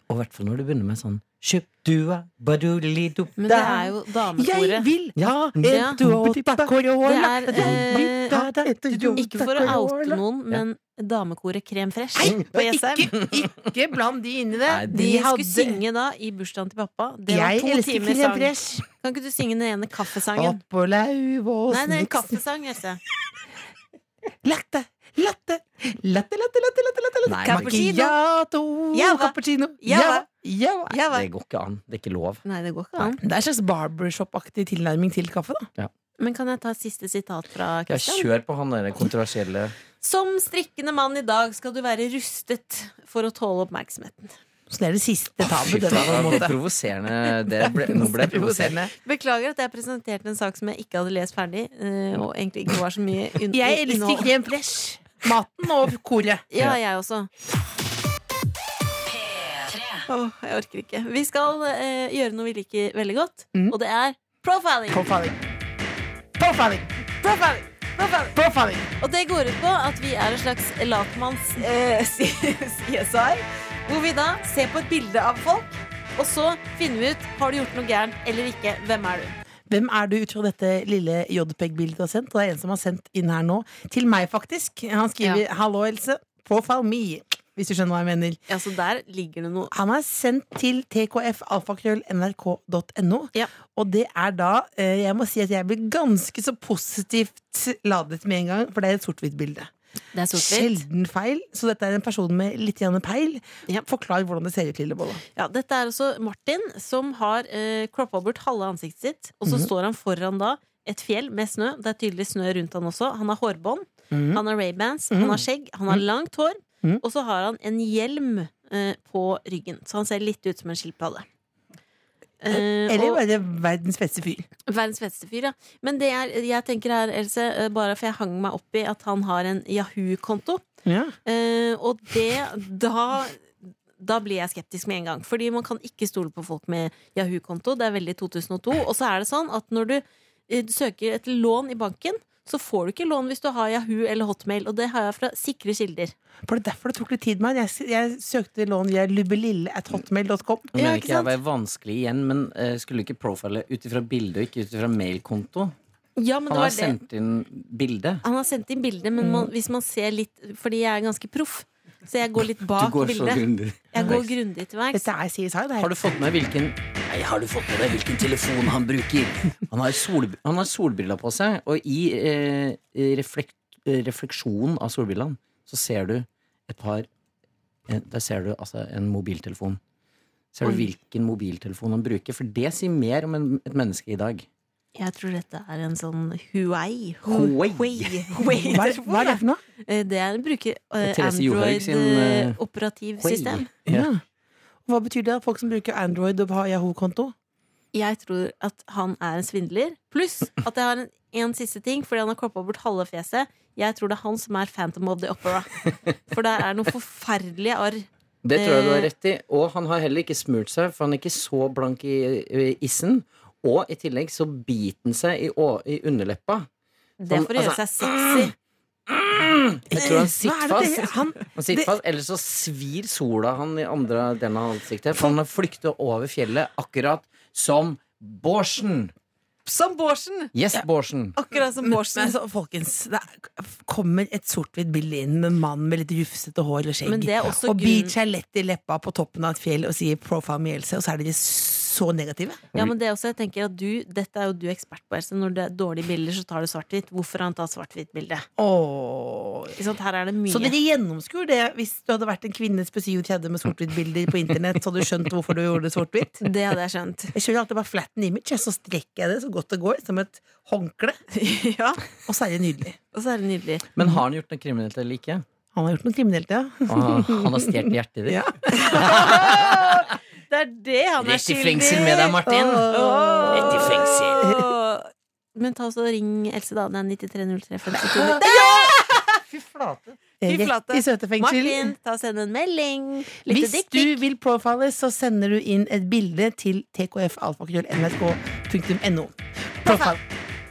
Speaker 5: Og i hvert fall når du begynner med sånn Kjøpdua, badulidup
Speaker 2: Men det er jo damekoret.
Speaker 3: Jeg vil
Speaker 5: Ja,
Speaker 2: Ja.
Speaker 3: en Toyota Corolla!
Speaker 2: Det eh, er,
Speaker 5: eh,
Speaker 3: Ta en Toyota
Speaker 2: Ikke for å oute
Speaker 3: Corolla.
Speaker 2: noen, men damekoret Krem Fresh
Speaker 3: Nei,
Speaker 2: på Jessheim.
Speaker 3: Ikke, ikke bland de inn i det!
Speaker 5: Nei,
Speaker 2: De,
Speaker 3: de hadde
Speaker 2: skulle synge da i bursdagen til pappa. Det var
Speaker 3: Jeg
Speaker 2: to
Speaker 3: elsker
Speaker 2: timer
Speaker 3: Krem
Speaker 2: sang.
Speaker 3: Fresh.
Speaker 2: Kan ikke du synge den ene kaffesangen?
Speaker 3: Oppå
Speaker 2: Nei,
Speaker 3: Lauvåsen
Speaker 2: det er en kaffesang, Jesse.
Speaker 3: Latte, latte, latte, latte, latte, latte, latte, latte.
Speaker 5: Nei,
Speaker 2: Cappuccino.
Speaker 3: Macchiato,
Speaker 2: Java.
Speaker 3: cappuccino,
Speaker 2: Java.
Speaker 3: java.
Speaker 2: Ja, hva?
Speaker 5: Det går ikke an. Det er ikke lov.
Speaker 2: Nei, det går ikke an.
Speaker 3: Det er en slags barbershop-aktig tilnærming til kaffe, da.
Speaker 2: Men kan jeg ta et siste sitat fra
Speaker 5: Ja,
Speaker 2: Christian?
Speaker 5: kjør på han der kontroversielle
Speaker 2: Som strikkende mann i dag skal du være rustet for å tåle oppmerksomheten.
Speaker 3: Så det er det siste tabu.
Speaker 5: Fy
Speaker 3: Det der, på en
Speaker 5: faen,
Speaker 3: måte.
Speaker 5: Provoserende. Det ble, nå ble
Speaker 3: [LAUGHS]
Speaker 5: jeg provoserende.
Speaker 2: Beklager at jeg presenterte en sak som jeg ikke hadde lest ferdig, eh, og egentlig ikke var så mye un-
Speaker 3: Jeg elsker
Speaker 2: innhold.
Speaker 3: krem fresh. Maten og koret.
Speaker 2: Ja, jeg også. Åh, jeg orker ikke. Vi skal eh, gjøre noe vi liker veldig godt,
Speaker 3: Mm.
Speaker 2: og det er profiling.
Speaker 3: Profiling. Profiling. Profiling. Profiling. Profiling.
Speaker 2: Og det går ut på at vi er en slags latmanns eh, [LAUGHS] CSI, hvor vi da ser på et bilde av folk, og så finner vi ut har du gjort noe gærent eller ikke. Hvem er du?
Speaker 3: Hvem er du ut fra dette lille JPEG-bildet du har sendt? Og det er en som har sendt inn her nå. Til meg, faktisk. Han skriver 'Hallo, Else'. Profile me. Hvis du skjønner hva jeg mener.
Speaker 2: Ja, så der ligger det noe.
Speaker 3: Han er sendt til tkfalfakrøllnrk.no.
Speaker 2: Ja.
Speaker 3: Og det er da eh, Jeg må si at jeg blir ganske så positivt ladet med en gang, for det er et sort-hvitt-bilde.
Speaker 2: Det er sort-hvitt.
Speaker 3: Sjelden feil. Så dette er en person med litt grann peil.
Speaker 2: Ja.
Speaker 3: Forklar hvordan det ser ut, Lillebolla.
Speaker 2: Ja, dette er også Martin, som har eh, kroppa bort halve ansiktet sitt. Og så står han foran da et fjell med snø. Det er tydelig snø rundt han også. Han har hårbånd, han har Ray-bands, han har skjegg, han har langt hår.
Speaker 3: Mhm.
Speaker 2: Og så har han en hjelm eh, på ryggen, så han ser litt ut som en skilpadde. Eh,
Speaker 3: Eller
Speaker 2: og-
Speaker 3: bare verdens beste fyr.
Speaker 2: Verdens feteste fyr, ja. Men det er, jeg tenker her, Else, eh, bare for jeg hang meg opp i at han har en Yahoo-konto. Eh, og det Da da blir jeg skeptisk med en gang. Fordi man kan ikke stole på folk med Yahoo-konto. Det er veldig 2002. Og så er det sånn at når du eh, søker et lån i banken, så får du ikke lån hvis du har Yahoo eller Hotmail. Og det har jeg fra sikre kilder.
Speaker 3: For det er derfor det tok litt tid med han. Jeg, jeg søkte lån via lubbelille.hotmail.com.
Speaker 5: Jeg
Speaker 2: Ja,
Speaker 5: mener
Speaker 2: ikke
Speaker 5: ikke jeg
Speaker 2: sant?
Speaker 5: var vanskelig igjen, men eh, skulle ikke profile ut ifra bilde og ikke ut ifra mailkonto?
Speaker 2: Ja, men
Speaker 5: Han
Speaker 2: det
Speaker 5: har
Speaker 2: var det.
Speaker 5: sendt inn bilde.
Speaker 2: Han har sendt inn bilder, men man, hvis man ser litt Fordi jeg er ganske proff. Så jeg går litt bak Ah, bildet.
Speaker 5: grundig.
Speaker 2: Jeg går grundig til verks.
Speaker 3: Dette er CSI, det
Speaker 5: Har
Speaker 3: her.
Speaker 5: du fått med hvilken Nei, har du fått med deg hvilken telefon han bruker? Han har, sol, han har solbriller på seg, og i eh, reflekt, eh, refleksjonen av solbrillene så ser du et par eh, Der ser du altså en mobiltelefon. Ser du hvilken mobiltelefon han bruker? For det sier mer om en, et menneske i dag.
Speaker 2: Jeg tror dette er en sånn Huawei.
Speaker 5: Huawei.
Speaker 2: Huawei.
Speaker 3: Hva er, hva er det for noe?
Speaker 2: Eh, Det er bruker
Speaker 5: er Therese Johaug sin, eh,
Speaker 2: Android-operativsystem.
Speaker 5: Oi. Ja.
Speaker 3: Ja. Hva betyr det at folk som bruker Android og har Yahoo-konto?
Speaker 2: Jeg tror at han er en svindler. Pluss at jeg har en, en siste ting, fordi han har klappa bort halve fjeset. Jeg tror det er han som er Phantom of the Opera. For der er det noen forferdelige arr.
Speaker 5: Det tror jeg du har rett i. Og han har heller ikke smurt seg, for han er ikke så blank i i issen. Og i tillegg så biter han seg i, å- i underleppa.
Speaker 2: Det er for å gjøre seg sexy.
Speaker 5: Jeg tror
Speaker 3: Hva
Speaker 5: han sitter
Speaker 3: er det
Speaker 5: fast.
Speaker 3: det? Han,
Speaker 5: Han sitter
Speaker 3: Det-
Speaker 5: fast, Eller så svir sola han i andre delen av ansiktet. For han har flyktet over fjellet akkurat som Bårdsen.
Speaker 2: Som Bårdsen!
Speaker 5: Yes, Bårdsen.
Speaker 2: [CLEARS THROAT] Akkurat som
Speaker 3: Men
Speaker 2: Bårdsen.
Speaker 3: altså, folkens, det er- kommer et sort-hvitt bilde inn med en mann med litt rufsete hår eller skjegg.
Speaker 2: Men det er også
Speaker 3: og
Speaker 2: grunnen-
Speaker 3: biter seg lett i leppa på toppen av et fjell og sier 'profile Mielse', og så er dere så negative.
Speaker 2: Ja, men det er også, jeg tenker at du, Dette er jo du ekspert på, Else. Når det er dårlige bilder, så tar du svart-hvitt. Hvorfor har han tatt svart-hvitt bilde?
Speaker 3: Åh.
Speaker 2: Ikke sant? Her er det mye.
Speaker 3: Så dere gjennomskuer det hvis du hadde vært en kvinne på 37 med sort-hvitt-bilder på internett, så hadde du skjønt hvorfor du gjorde det sort-hvitt?
Speaker 2: Det hadde jeg skjønt.
Speaker 3: Jeg kjører alltid bare flatten image, jeg, så strekker jeg det så godt det går, som et håndkle,
Speaker 2: ja,
Speaker 3: og så er det nydelig.
Speaker 2: Og så er det nydelig.
Speaker 5: Men har han gjort noe kriminelt eller ikke?
Speaker 3: Han har gjort noe kriminelt, ja.
Speaker 5: Ah, han har stjålet hjertet ditt.
Speaker 3: Ja.
Speaker 2: Det er det han er
Speaker 5: Rett i
Speaker 2: skyldig
Speaker 5: fengsel med deg, Martin.
Speaker 2: Åh.
Speaker 5: Rett i fengsel.
Speaker 2: Åh. Men ta også og ring Else, da. Det er 930352.
Speaker 3: Fy flate.
Speaker 2: Fy flate.
Speaker 3: Rett i søte fengsel.
Speaker 2: Martin, ta og send en melding. Litt
Speaker 3: Hvis
Speaker 2: dick-dick.
Speaker 3: du vil profiles, så sender du inn et bilde til tkfalfakrøll.nrk.no. Profile.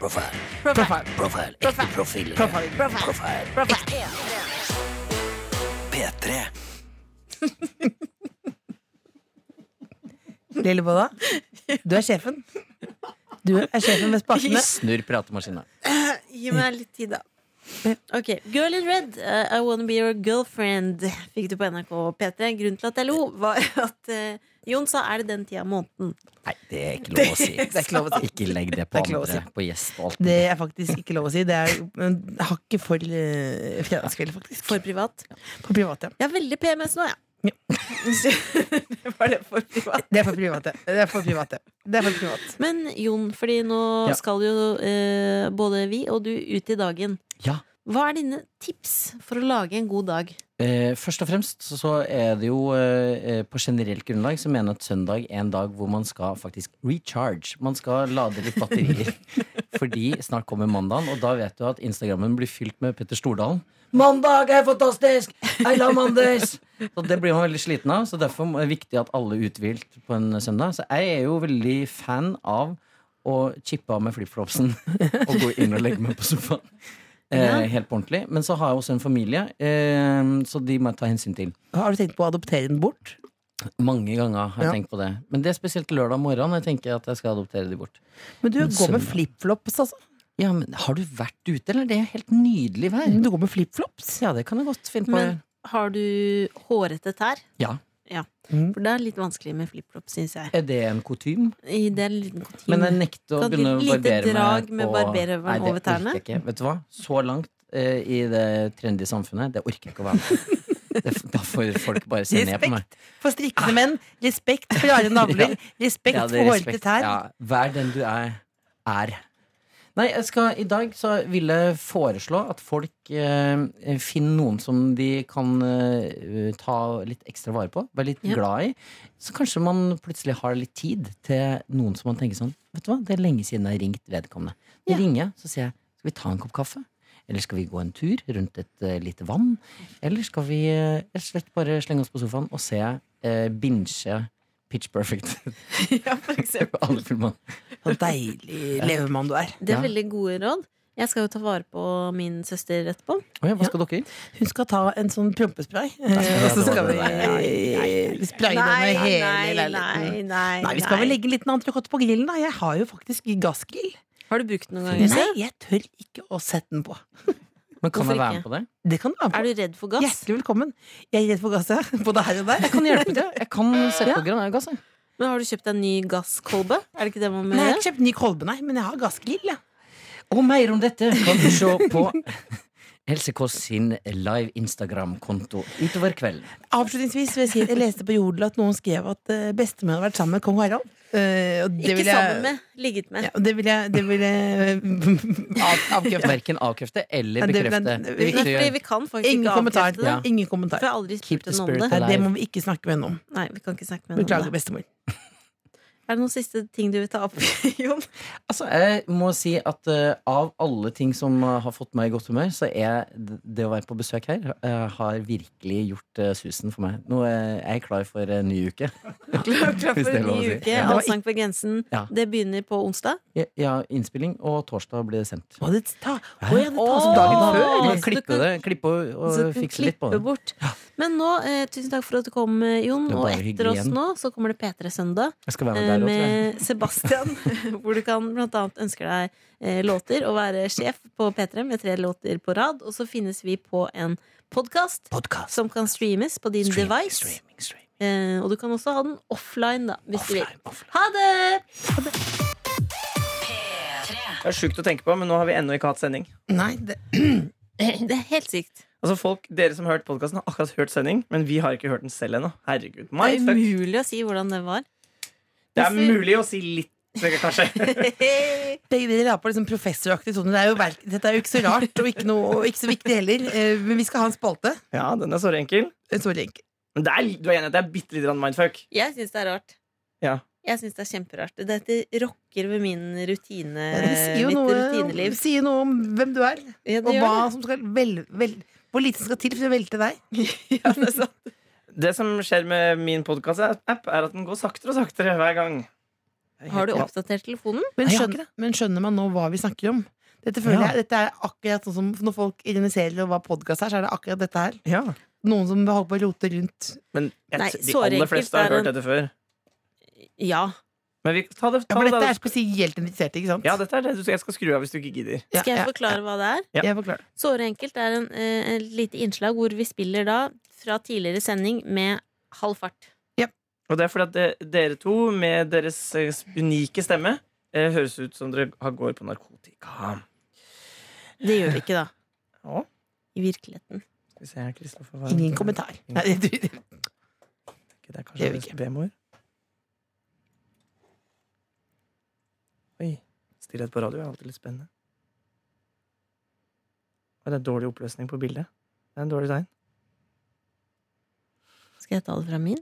Speaker 1: Profile.
Speaker 3: Profile.
Speaker 1: Profile. Ekte profil.
Speaker 3: Profile.
Speaker 1: Profile. P3.
Speaker 3: Lille Bolla, du er sjefen. Du er sjefen ved
Speaker 5: [LAUGHS]
Speaker 3: spakene.
Speaker 5: Snurr pratemaskina.
Speaker 2: Gi meg litt tid, da. Ok, Girl in Red, uh, I Wanna Be Your Girlfriend, fikk du på NRK P3. Grunnen til at jeg lo, var at eh, Jon sa er det den tida av måneden.
Speaker 5: Nei, det er ikke lov å si.
Speaker 3: Det er ikke lov å si.
Speaker 5: Ikke legg det på
Speaker 3: Det er ikke lov å
Speaker 5: andre. På gjest og alt.
Speaker 3: Det er faktisk ikke lov å si. Det er men hakket for eh, fredagskveld, faktisk.
Speaker 2: For privat.
Speaker 3: på private.
Speaker 2: Jeg har veldig PMS nå, jeg. det var det for privat.
Speaker 3: Det er for private. Det er for private. Det er for privat.
Speaker 2: Men Jon, fordi nå
Speaker 5: Ja.
Speaker 2: skal jo eh, både vi og du ut i dagen.
Speaker 5: Ja.
Speaker 2: Hva er dine tips for å lage en god dag?
Speaker 5: Eh, først og fremst så- så er det jo eh, eh, på generelt grunnlag så mener jeg at søndag er en dag hvor man skal faktisk recharge. Man skal lade litt [LAUGHS] batterier. Fordi snart kommer mandagen, og da vet du at Instagrammen blir fylt med Petter Stordalen. Mandag er fantastisk! I love Mondays! [LAUGHS] Så det blir man veldig sliten av, så derfor er det viktig at alle er uthvilt på en søndag. Så jeg er jo veldig fan av å chippe av med flipflopsen [LAUGHS] og gå inn og legge meg på sofaen. Eh, helt på ordentlig. Men så har jeg også en familie, eh, så de må jeg ta hensyn til.
Speaker 3: Har du tenkt på å adoptere den bort?
Speaker 5: Mange ganger har jeg
Speaker 3: Ja.
Speaker 5: tenkt på det. Men det er spesielt lørdag morgen jeg tenker at jeg skal adoptere de bort.
Speaker 3: Men du går
Speaker 5: Men
Speaker 3: med
Speaker 5: søndag.
Speaker 3: flipflops, altså.
Speaker 5: Ja, men Har du vært ute, eller? Det er jo helt nydelig vær.
Speaker 3: Du går med flipflops?
Speaker 5: Mm. Ja, det kan jeg godt finne på.
Speaker 2: Mm. Men har du hårete tær?
Speaker 5: Ja.
Speaker 2: Ja.
Speaker 3: Mm.
Speaker 2: For det er litt vanskelig med flipflop, syns jeg.
Speaker 5: Er det en kutyme?
Speaker 2: I det er en liten kutin.
Speaker 5: Men jeg nekter å
Speaker 2: Kan du
Speaker 5: begynne å
Speaker 2: lite
Speaker 5: barbere
Speaker 2: drag med
Speaker 5: meg på
Speaker 2: barberhøvelen
Speaker 5: Nei, det
Speaker 2: over tærne?
Speaker 5: orker jeg ikke. Vet du hva? Så langt eh, i det trendy samfunnet, det orker jeg ikke å være med
Speaker 2: [LAUGHS]
Speaker 5: på. Det- Da får folk bare se ned på meg.
Speaker 3: Respekt for strikkende menn, respekt for rare navler, respekt
Speaker 5: Ja, det er
Speaker 3: for hårete
Speaker 5: respekt.
Speaker 3: tær.
Speaker 5: Ja, vær den du er. er. Nei, jeg skal, I dag så vil jeg foreslå at folk eh, finner noen som de kan eh, ta litt ekstra vare på, være litt
Speaker 2: Ja.
Speaker 5: glad i. Så kanskje man plutselig har litt tid til noen som man tenker sånn Vet du hva, det er lenge siden jeg har ringt vedkommende. Nå
Speaker 2: Ja.
Speaker 5: ringer jeg, så sier jeg Skal vi ta en kopp kaffe? Eller skal vi gå en tur rundt et eh, lite vann? Eller skal vi eh, rett og slett bare slenge oss på sofaen og se eh, binge Pitch Perfect?
Speaker 2: [LAUGHS] ja, for eksempel.
Speaker 5: Alle filmene.
Speaker 3: Så deilig levemann du er.
Speaker 2: Det er
Speaker 5: Ja.
Speaker 2: veldig gode råd. Jeg skal jo ta vare på min søster etterpå.
Speaker 5: Å ja, hva skal dere?
Speaker 3: Hun skal ta en sånn prompespray, eh,
Speaker 5: ja,
Speaker 3: og så
Speaker 5: det var
Speaker 3: skal vi
Speaker 5: det der.
Speaker 3: eh, spraye den
Speaker 2: Nei,
Speaker 3: med hele
Speaker 2: nei, nei,
Speaker 3: leiligheten. Mm.
Speaker 2: nei,
Speaker 3: Nei, vi skal vel legge en liten entrecôte på grillen, da. Jeg har jo faktisk gassgrill.
Speaker 2: Har du brukt den noen ganger?
Speaker 3: Nei, jeg tør ikke å sette den på.
Speaker 5: Men kan jeg
Speaker 2: Hvorfor
Speaker 5: være
Speaker 2: ikke?
Speaker 5: med på det?
Speaker 3: Det kan du ha på.
Speaker 2: Er du redd for gass?
Speaker 3: Hjertelig velkommen. Jeg er redd for gass, ja. Både her og der.
Speaker 5: Jeg kan hjelpe til. Jeg kan sette på granatgass. jeg.
Speaker 2: Men har du kjøpt deg en ny gasskolbe? Er det ikke det man må
Speaker 3: Nei, jeg har
Speaker 2: gjøre?
Speaker 3: ikke kjøpt ny kolbe, nei, men jeg har gassgrill. Ja.
Speaker 5: Og mer om dette kan du se på [LAUGHS] Else Kåss sin live Instagram-konto utover kvelden.
Speaker 3: Avslutningsvis vil jeg si at jeg leste på Jodel at noen skrev at eh, bestemor hadde vært sammen med kong Harald. Eh, og det
Speaker 2: Ikke
Speaker 3: vil jeg-
Speaker 2: sammen med, ligget med.
Speaker 3: Ja, og det vil jeg, det vil
Speaker 2: [LAUGHS]
Speaker 3: jeg av, avkrefte.
Speaker 5: Verken avkrefte eller
Speaker 3: Ja, det-
Speaker 5: bekrefte.
Speaker 3: men-
Speaker 5: Det er
Speaker 2: Nei,
Speaker 5: viktig å
Speaker 2: fordi
Speaker 5: gjøre.
Speaker 2: vi kan faktisk
Speaker 3: Ingen
Speaker 2: ikke
Speaker 3: kommentar.
Speaker 2: avkrefte det.
Speaker 5: Ja.
Speaker 3: Ingen
Speaker 2: For
Speaker 3: kommentar.
Speaker 2: jeg har aldri
Speaker 5: Keep
Speaker 2: spurt
Speaker 5: the
Speaker 2: henne om
Speaker 5: spirit
Speaker 2: det.
Speaker 5: alive.
Speaker 3: Nei, det må vi ikke snakke med henne om.
Speaker 2: Nei, vi kan ikke snakke med henne
Speaker 3: Beklager,
Speaker 2: om det.
Speaker 3: bestemor.
Speaker 2: Er det noen siste ting du vil ta opp, [LAUGHS] Jon?
Speaker 5: Altså, jeg må si at eh, av alle ting som eh, har fått meg i godt humør, så er d- det å være på besøk her eh, har virkelig gjort eh, susen for meg. Nå eh, er jeg klar for eh, ny uke.
Speaker 2: Klar klar
Speaker 5: Hvis
Speaker 2: for
Speaker 5: det er
Speaker 2: en
Speaker 5: lov å
Speaker 2: ny
Speaker 5: si.
Speaker 2: uke.
Speaker 5: Ja.
Speaker 2: Allsang på grensen.
Speaker 5: Ja.
Speaker 2: Det begynner på onsdag.
Speaker 5: Ja, Ja, innspilling, og torsdag blir det sendt.
Speaker 3: Må det ta, å, ja, det tas
Speaker 2: Åh!
Speaker 3: opp dagen
Speaker 5: Ja,
Speaker 3: før?
Speaker 5: da må
Speaker 2: Så
Speaker 5: jeg
Speaker 2: du
Speaker 5: Klippe
Speaker 2: kan-
Speaker 5: det, klippe og,
Speaker 2: Så du
Speaker 5: og
Speaker 2: kan
Speaker 5: fikse litt på
Speaker 2: klippe
Speaker 5: det.
Speaker 2: bort. Men nå, eh, tusen takk for at du kom, eh, Jon.
Speaker 5: Det er
Speaker 2: Og
Speaker 5: bare
Speaker 2: etter
Speaker 5: hyggelig
Speaker 2: oss
Speaker 5: igjen.
Speaker 2: nå så kommer det P3 Søndag.
Speaker 5: Jeg skal være
Speaker 2: eh,
Speaker 5: med der også, tror jeg.
Speaker 2: med
Speaker 5: [LAUGHS]
Speaker 2: Sebastian, [LAUGHS] hvor du kan blant annet ønske deg eh, låter og være sjef på P3 med tre låter på rad. Og så finnes vi på en podkast
Speaker 5: Podcast.
Speaker 2: som kan streames på din
Speaker 5: Streaming,
Speaker 2: device.
Speaker 5: streaming, streaming.
Speaker 2: Eh, og du kan også ha den offline, da, hvis du vil.
Speaker 5: Offline, offline.
Speaker 2: Ha det! [CLEARS THROAT]
Speaker 7: Det er sjukt å tenke på, men nå har vi ennå ikke hatt sending.
Speaker 3: Nei, det,
Speaker 2: Det er helt sykt.
Speaker 7: Altså folk, Dere som har hørt podkasten, har akkurat hørt sending, men vi har ikke hørt den selv ennå. Herregud,
Speaker 2: Det er
Speaker 7: mindfuck.
Speaker 2: umulig å si hvordan det var.
Speaker 7: Det er mulig å si litt, kanskje. [LAUGHS]
Speaker 3: begge dere er på liksom professoraktig tone. Det er jo verk, dette er jo ikke så rart, og ikke, noe, og ikke så viktig heller. Eh, Men vi skal ha en spalte.
Speaker 7: Ja, den er såre enkel.
Speaker 3: Eh, Sorry, Henk.
Speaker 7: Men det er, du er enig i at det er bitte lite grann mindfuck?
Speaker 2: Jeg syns det er rart.
Speaker 7: Ja.
Speaker 2: Jeg syns det er kjemperart. Dette rokker ved min rutine,
Speaker 3: Det sier jo
Speaker 2: mitt
Speaker 3: noe,
Speaker 2: rutineliv.
Speaker 3: sier noe om hvem du er,
Speaker 2: Ja,
Speaker 3: og hva som skal vel, vel, hvor lite som skal til for å velte deg.
Speaker 2: [LAUGHS] Ja, det er sant.
Speaker 7: Det som skjer med min podkast-app, er at den går saktere og saktere hver gang.
Speaker 2: Har du oppdatert telefonen?
Speaker 3: Men
Speaker 5: Nei, jeg har
Speaker 3: skjønner, men skjønner man nå hva vi snakker om? Dette føler
Speaker 5: Ja.
Speaker 3: jeg, dette er akkurat sånn som Når folk ironiserer over hva podkast er, så er det akkurat dette her.
Speaker 7: Ja.
Speaker 3: Noen som holder på å rote rundt.
Speaker 7: Men jeg,
Speaker 2: Nei,
Speaker 7: de
Speaker 2: såre
Speaker 7: aller
Speaker 2: enkelt
Speaker 7: fleste har
Speaker 2: er
Speaker 7: hørt
Speaker 2: den.
Speaker 7: dette før.
Speaker 2: Ja.
Speaker 7: Men vi ta det,
Speaker 3: Ja,
Speaker 7: ta
Speaker 3: for
Speaker 7: det,
Speaker 3: dette
Speaker 7: da.
Speaker 3: er spesielt interessert, ikke sant?
Speaker 7: Ja, dette er det du jeg skal skru av hvis du ikke gidder.
Speaker 3: Ja,
Speaker 2: Skal jeg
Speaker 3: ja,
Speaker 2: forklare hva det er?
Speaker 7: Ja.
Speaker 3: Jeg forklarer.
Speaker 2: Såre enkelt er en, eh, en lite innslag hvor vi spiller da fra tidligere sending med halv fart.
Speaker 7: Og det er fordi at de- dere to, med deres eh, unike stemme, eh, høres ut som dere har- går på narkotika.
Speaker 2: Det gjør vi ikke, da.
Speaker 7: Ja.
Speaker 2: I virkeligheten.
Speaker 7: Skal vi se her, Kristoffer hva er det?
Speaker 3: Ingen kommentar. Nei, [LAUGHS] du,
Speaker 7: Ikke Det er
Speaker 3: Det gjør
Speaker 7: kanskje
Speaker 3: vi
Speaker 7: det som B-mor. Oi. Stillhet på radio er alltid litt spennende. Og det er dårlig oppløsning på bildet. Det er en dårlig tegn.
Speaker 2: Skal jeg ta det fra min?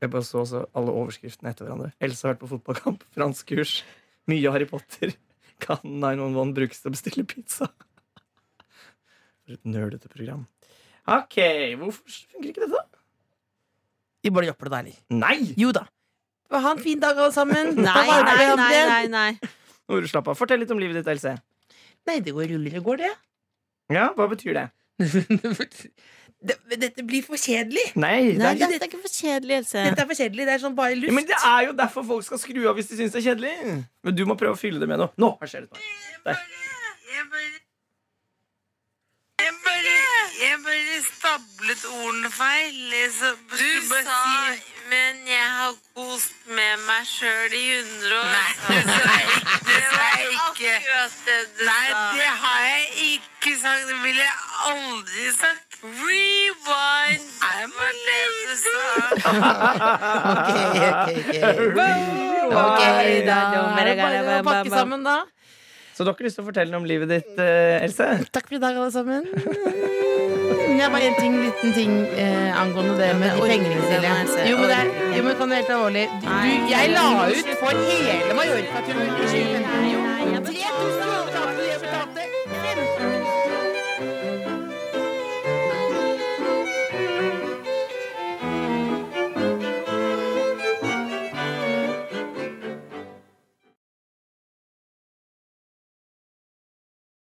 Speaker 7: Jeg bare så også alle overskriftene etter hverandre. Else har vært på fotballkamp, fransk kurs, mye Harry Potter. Kan 911 brukes til å bestille pizza? For et nerdete program. Ok, hvorfor funker ikke dette?
Speaker 3: vi bare jobber det der.
Speaker 7: Nei!
Speaker 3: Jo da. Ha en fin dag, alle sammen.
Speaker 2: Nei,
Speaker 3: Ta vare på
Speaker 2: nei, nei,
Speaker 3: hverandre.
Speaker 2: nei, nei.
Speaker 7: Nå er du slapp av. Fortell litt om livet ditt, Else.
Speaker 3: Nei, det går ruller og går, det.
Speaker 7: Ja, Hva betyr det?
Speaker 3: [LAUGHS] det. Dette blir for kjedelig.
Speaker 7: Nei, det
Speaker 2: nei
Speaker 7: er ikke
Speaker 2: dette er ikke for kjedelig, Else.
Speaker 3: Dette er for kjedelig. Det er sånn bare
Speaker 7: Ja,
Speaker 3: luft.
Speaker 7: men Det er jo derfor folk skal skru av hvis de syns det er kjedelig. Men du må prøve å fylle det med noe. Nå her skjer det noe. Der.
Speaker 8: Jeg bare stablet ordene feil. Liksom. Du sa Men jeg har kost med meg sjøl i 100 år. Nei, det sa jeg ikke. Det sa jeg ikke. Akkurat det du Nei, det har jeg ikke sagt. Det ville jeg aldri sagt. Rewind. Det var det du sa.
Speaker 3: [LAUGHS] Ok, ok, [LAUGHS] ok. Ok,
Speaker 7: Nei.
Speaker 3: da er det bare å pakke sammen, da.
Speaker 7: Så dere har lyst til å fortelle noe om livet ditt, eh, Else?
Speaker 3: Takk for i dag, alle sammen. Mm. Jeg har bare en ting, liten ting eh, angående det med de
Speaker 2: orker
Speaker 3: pengene
Speaker 2: ikke den her,
Speaker 3: dine.
Speaker 2: så jeg
Speaker 3: Jo, men det er,
Speaker 2: orker ikke.
Speaker 3: jo, men kan du helt alvorlig du, du, Jeg la ut for hele Mallorca-turen i 2015. jo. 3000 kroner.